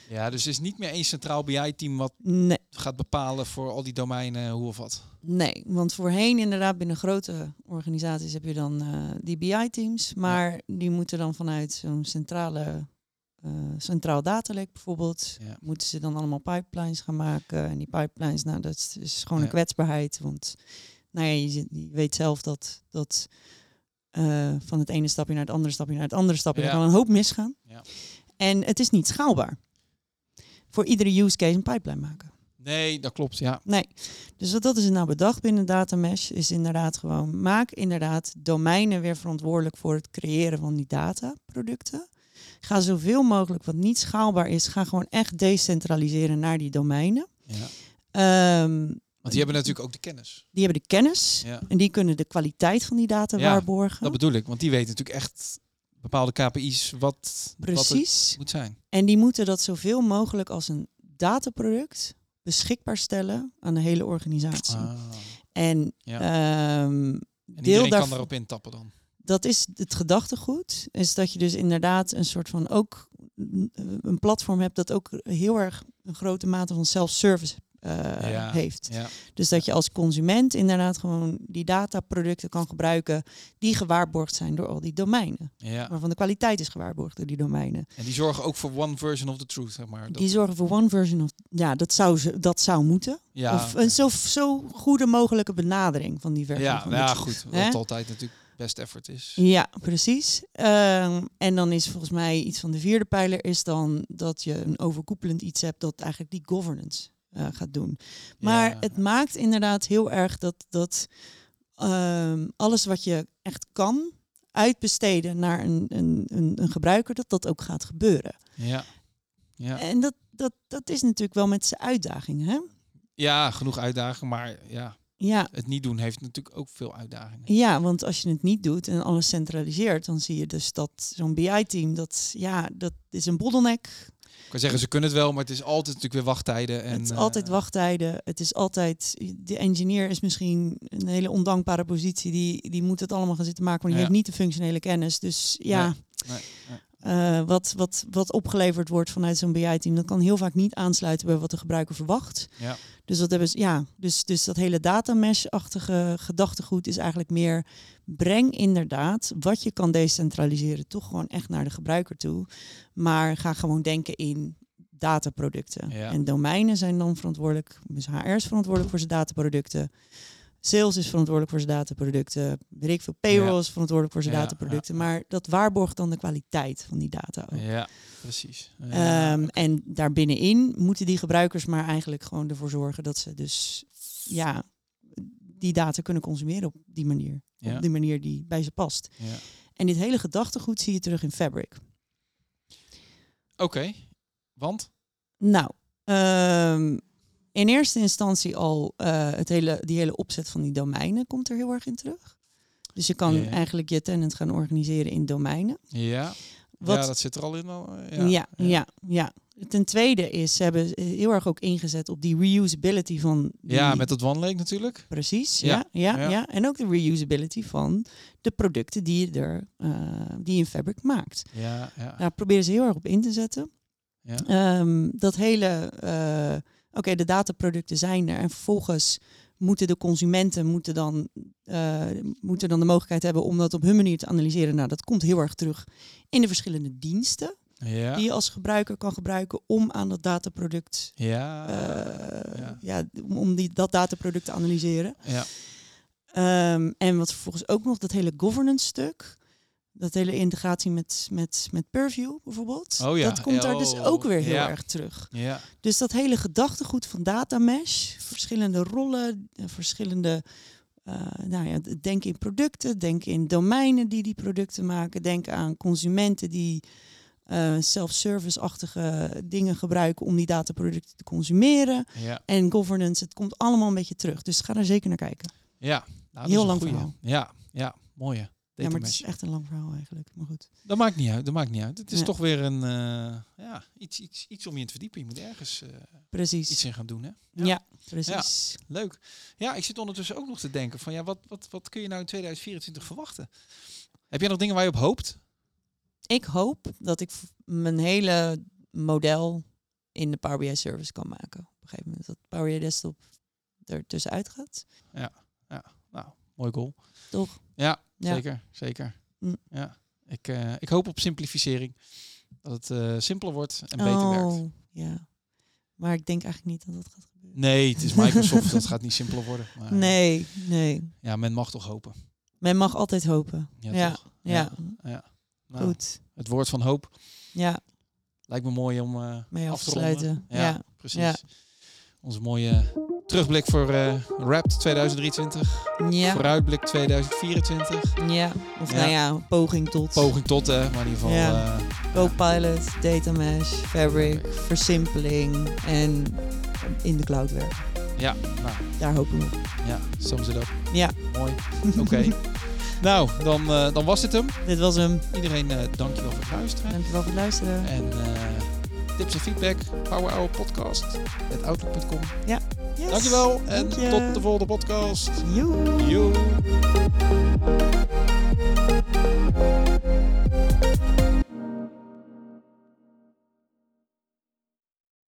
ja, dus er is niet meer één centraal BI-team wat Nee, gaat bepalen voor al die domeinen hoe of wat. Nee, want voorheen inderdaad binnen grote organisaties heb je dan eh, die BI-teams, maar die moeten dan vanuit zo'n centrale eh, Centraal Data Lake bijvoorbeeld. Ja. Moeten ze dan allemaal pipelines gaan maken? En die pipelines, nou, dat is- is gewoon een Ja. kwetsbaarheid. Want nou ja, je, zit- je weet zelf dat, dat eh, van het ene stapje naar het andere stapje naar het andere stapje. Ja. Er kan een hoop misgaan. Ja. En het is niet schaalbaar. Voor iedere use case een pipeline maken. Nee, dat klopt, ja. Nee. Dus wat dat is nou bedacht binnen Data Mesh is inderdaad gewoon maak inderdaad domeinen weer verantwoordelijk voor het creëren van die dataproducten. Ga zoveel mogelijk wat niet schaalbaar is, ga gewoon echt decentraliseren naar die domeinen. ja. Ehm, Want die hebben natuurlijk ook de kennis. die hebben de kennis Ja. en die kunnen de kwaliteit van die data Ja, waarborgen. Dat bedoel ik, want die weten natuurlijk echt bepaalde KPI's wat, wat het Precies. moet zijn. En die moeten dat zoveel mogelijk als een dataproduct beschikbaar stellen aan de hele organisatie. Ah. En, Ja. ehm, En deel iedereen daarvan. kan daarop intappen dan. dat is het gedachtegoed. Is dat je dus inderdaad een soort van ook mm, een platform hebt dat ook heel erg een grote mate van self-service eh, Ja, heeft. Ja. Dus dat je als consument inderdaad gewoon die dataproducten kan gebruiken die gewaarborgd zijn door al die domeinen. Ja. Waarvan de kwaliteit is gewaarborgd door die domeinen. En die zorgen ook voor one version of the truth, zeg maar. Dat- Die zorgen voor one version of. Ja, dat zou, ze, dat zou moeten. ja, of oké. een zo, zo goede mogelijke benadering van die versie. ja, van nou ja, de- goed. Wat Hè? altijd natuurlijk best effort is. Ja, precies. Ehm, en dan is volgens mij iets van de vierde pijler is dan dat je een overkoepelend iets hebt dat eigenlijk die governance eh, gaat doen. Maar Ja. het maakt inderdaad heel erg dat, dat ehm, alles wat je echt kan uitbesteden naar een, een, een, een gebruiker, dat dat ook gaat gebeuren. Ja. Ja. En dat, dat, dat is natuurlijk wel met zijn uitdagingen. Hè? ja, genoeg uitdagingen, maar ja, Ja. het niet doen heeft natuurlijk ook veel uitdagingen. Ja, want als je het niet doet en alles centraliseert, dan zie je dus dat zo'n BI-team, dat, ja, dat is een bottleneck. Ik kan zeggen, ze kunnen het wel, maar het is altijd natuurlijk weer wachttijden. En, het is eh, altijd wachttijden. Het is altijd. De engineer is misschien een hele ondankbare positie. Die, die moet het allemaal gaan zitten maken. Maar die Ja. heeft niet de functionele kennis. Dus ja, nee, nee. eh, wat, wat, wat opgeleverd wordt vanuit zo'n BI-team, dat kan heel vaak niet aansluiten bij wat de gebruiker verwacht. Ja. Dus dat hebben ze, ja, dus, dus dat hele datamesh-achtige gedachtegoed is eigenlijk meer. Breng inderdaad wat je kan decentraliseren, toch gewoon echt naar de gebruiker toe. Maar ga gewoon denken in dataproducten. Ja. En domeinen zijn dan verantwoordelijk, dus HR is verantwoordelijk voor zijn dataproducten. Sales is verantwoordelijk voor zijn dataproducten. Weet ik veel, payroll Ja. is verantwoordelijk voor zijn Ja, dataproducten. ja, ja. Maar dat waarborgt dan de kwaliteit van die data ook. ja, precies. Ja. Ehm, en daarbinnenin moeten die gebruikers maar eigenlijk gewoon ervoor zorgen dat ze dus ja, die data kunnen consumeren op die manier. Ja. Op die manier die bij ze past. ja. En dit hele gedachtegoed zie je terug in Fabric. Oké, want? Nou, ehm, in eerste instantie al eh, het hele, die hele opzet van die domeinen komt er heel erg in terug. Dus je kan Ja. eigenlijk je tenant gaan organiseren in domeinen. Ja. Wat- ja, dat zit er al in. Al, eh, Ja, ja, ja. Ten tweede is, ze hebben eh, heel erg ook ingezet op die reusability van... Die, Ja, met dat One Lake natuurlijk. Precies, Ja, ja, ja, ja. ja, En ook de reusability van de producten die je, er, eh, die je in Fabric maakt. Ja, ja. Daar proberen ze heel erg op in te zetten. ja. Ehm, dat hele, eh, oké, de dataproducten zijn er. En vervolgens moeten de consumenten moeten dan, eh, moeten dan de mogelijkheid hebben om dat op hun manier te analyseren. Nou, dat komt heel erg terug in de verschillende diensten ja. die je als gebruiker kan gebruiken om aan dat dataproduct, Ja. eh, ja. ja. om- om die, dat dataproduct te analyseren. ja. Ehm, en wat vervolgens ook nog dat hele governance stuk. Dat hele integratie met, met, met Purview bijvoorbeeld. Oh ja, Dat komt daar dus oh, ook weer heel ja. erg terug. Ja. Dus dat hele gedachtegoed van data mesh, verschillende rollen, eh, verschillende, eh, nou ja, d- denk in producten, denk in domeinen die die producten maken, denk aan consumenten die eh self-service-achtige dingen gebruiken om die dataproducten te consumeren. ja. En governance, het komt allemaal een beetje terug. Dus ga daar zeker naar kijken. Ja, nou, dat is Heel een lang goeie. verhaal. Ja, ja, mooie. Ja, maar het Datamesje. is echt een lang verhaal eigenlijk. Maar goed. Dat maakt niet uit, dat maakt niet uit. Het is Ja. toch weer een, eh, ja, iets, iets, iets om je in te verdiepen. Je moet ergens eh, Precies. iets in gaan doen, hè? ja. precies. Leuk. Ja, ik zit ondertussen ook nog te denken van, ja, wat, wat, wat kun je nou in 2024 verwachten? Heb jij nog dingen waar je op hoopt? Ik hoop dat ik v- mijn hele model in de Power BI service kan maken. Op een gegeven moment dat Power BI desktop er tussenuit gaat. Nou, mooi goal. Toch? Ja, Ja. zeker, zeker. Mm. Ja. Ik, eh, ik hoop op simplificering. Dat het eh, simpeler wordt en Oh, beter werkt. ja. Maar ik denk eigenlijk niet dat dat gaat gebeuren. Nee, het is Microsoft. dat gaat niet simpeler worden. Maar, Nee, nee. Ja, men mag toch hopen. Men mag altijd hopen. Ja, Ja, toch? Ja, Nou, goed. Het woord van hoop Ja, lijkt me mooi om eh, mee af te ronden. sluiten. Ja, Ja. precies. Ja. Onze mooie terugblik voor eh Wrapped 2023. Ja. Vooruitblik 2024. ja. Of Ja. nou ja, een poging tot Poging tot, hè, maar in ieder geval... Ja. eh, Copilot, Data Mesh, Fabric, versimpeling en in de cloud werken. ja, nou, Daar hopen we op. ja, soms it up. Ja. Mooi. Oké. nou, dan, eh, dan was dit hem. Dit was hem. Iedereen, eh dankjewel voor het luisteren. Dankjewel voor het luisteren. En eh, tips en feedback, Power Hour Podcast, at outlook.com. Yes. Dankjewel en Dank je. tot de volgende podcast. Joe. Joe.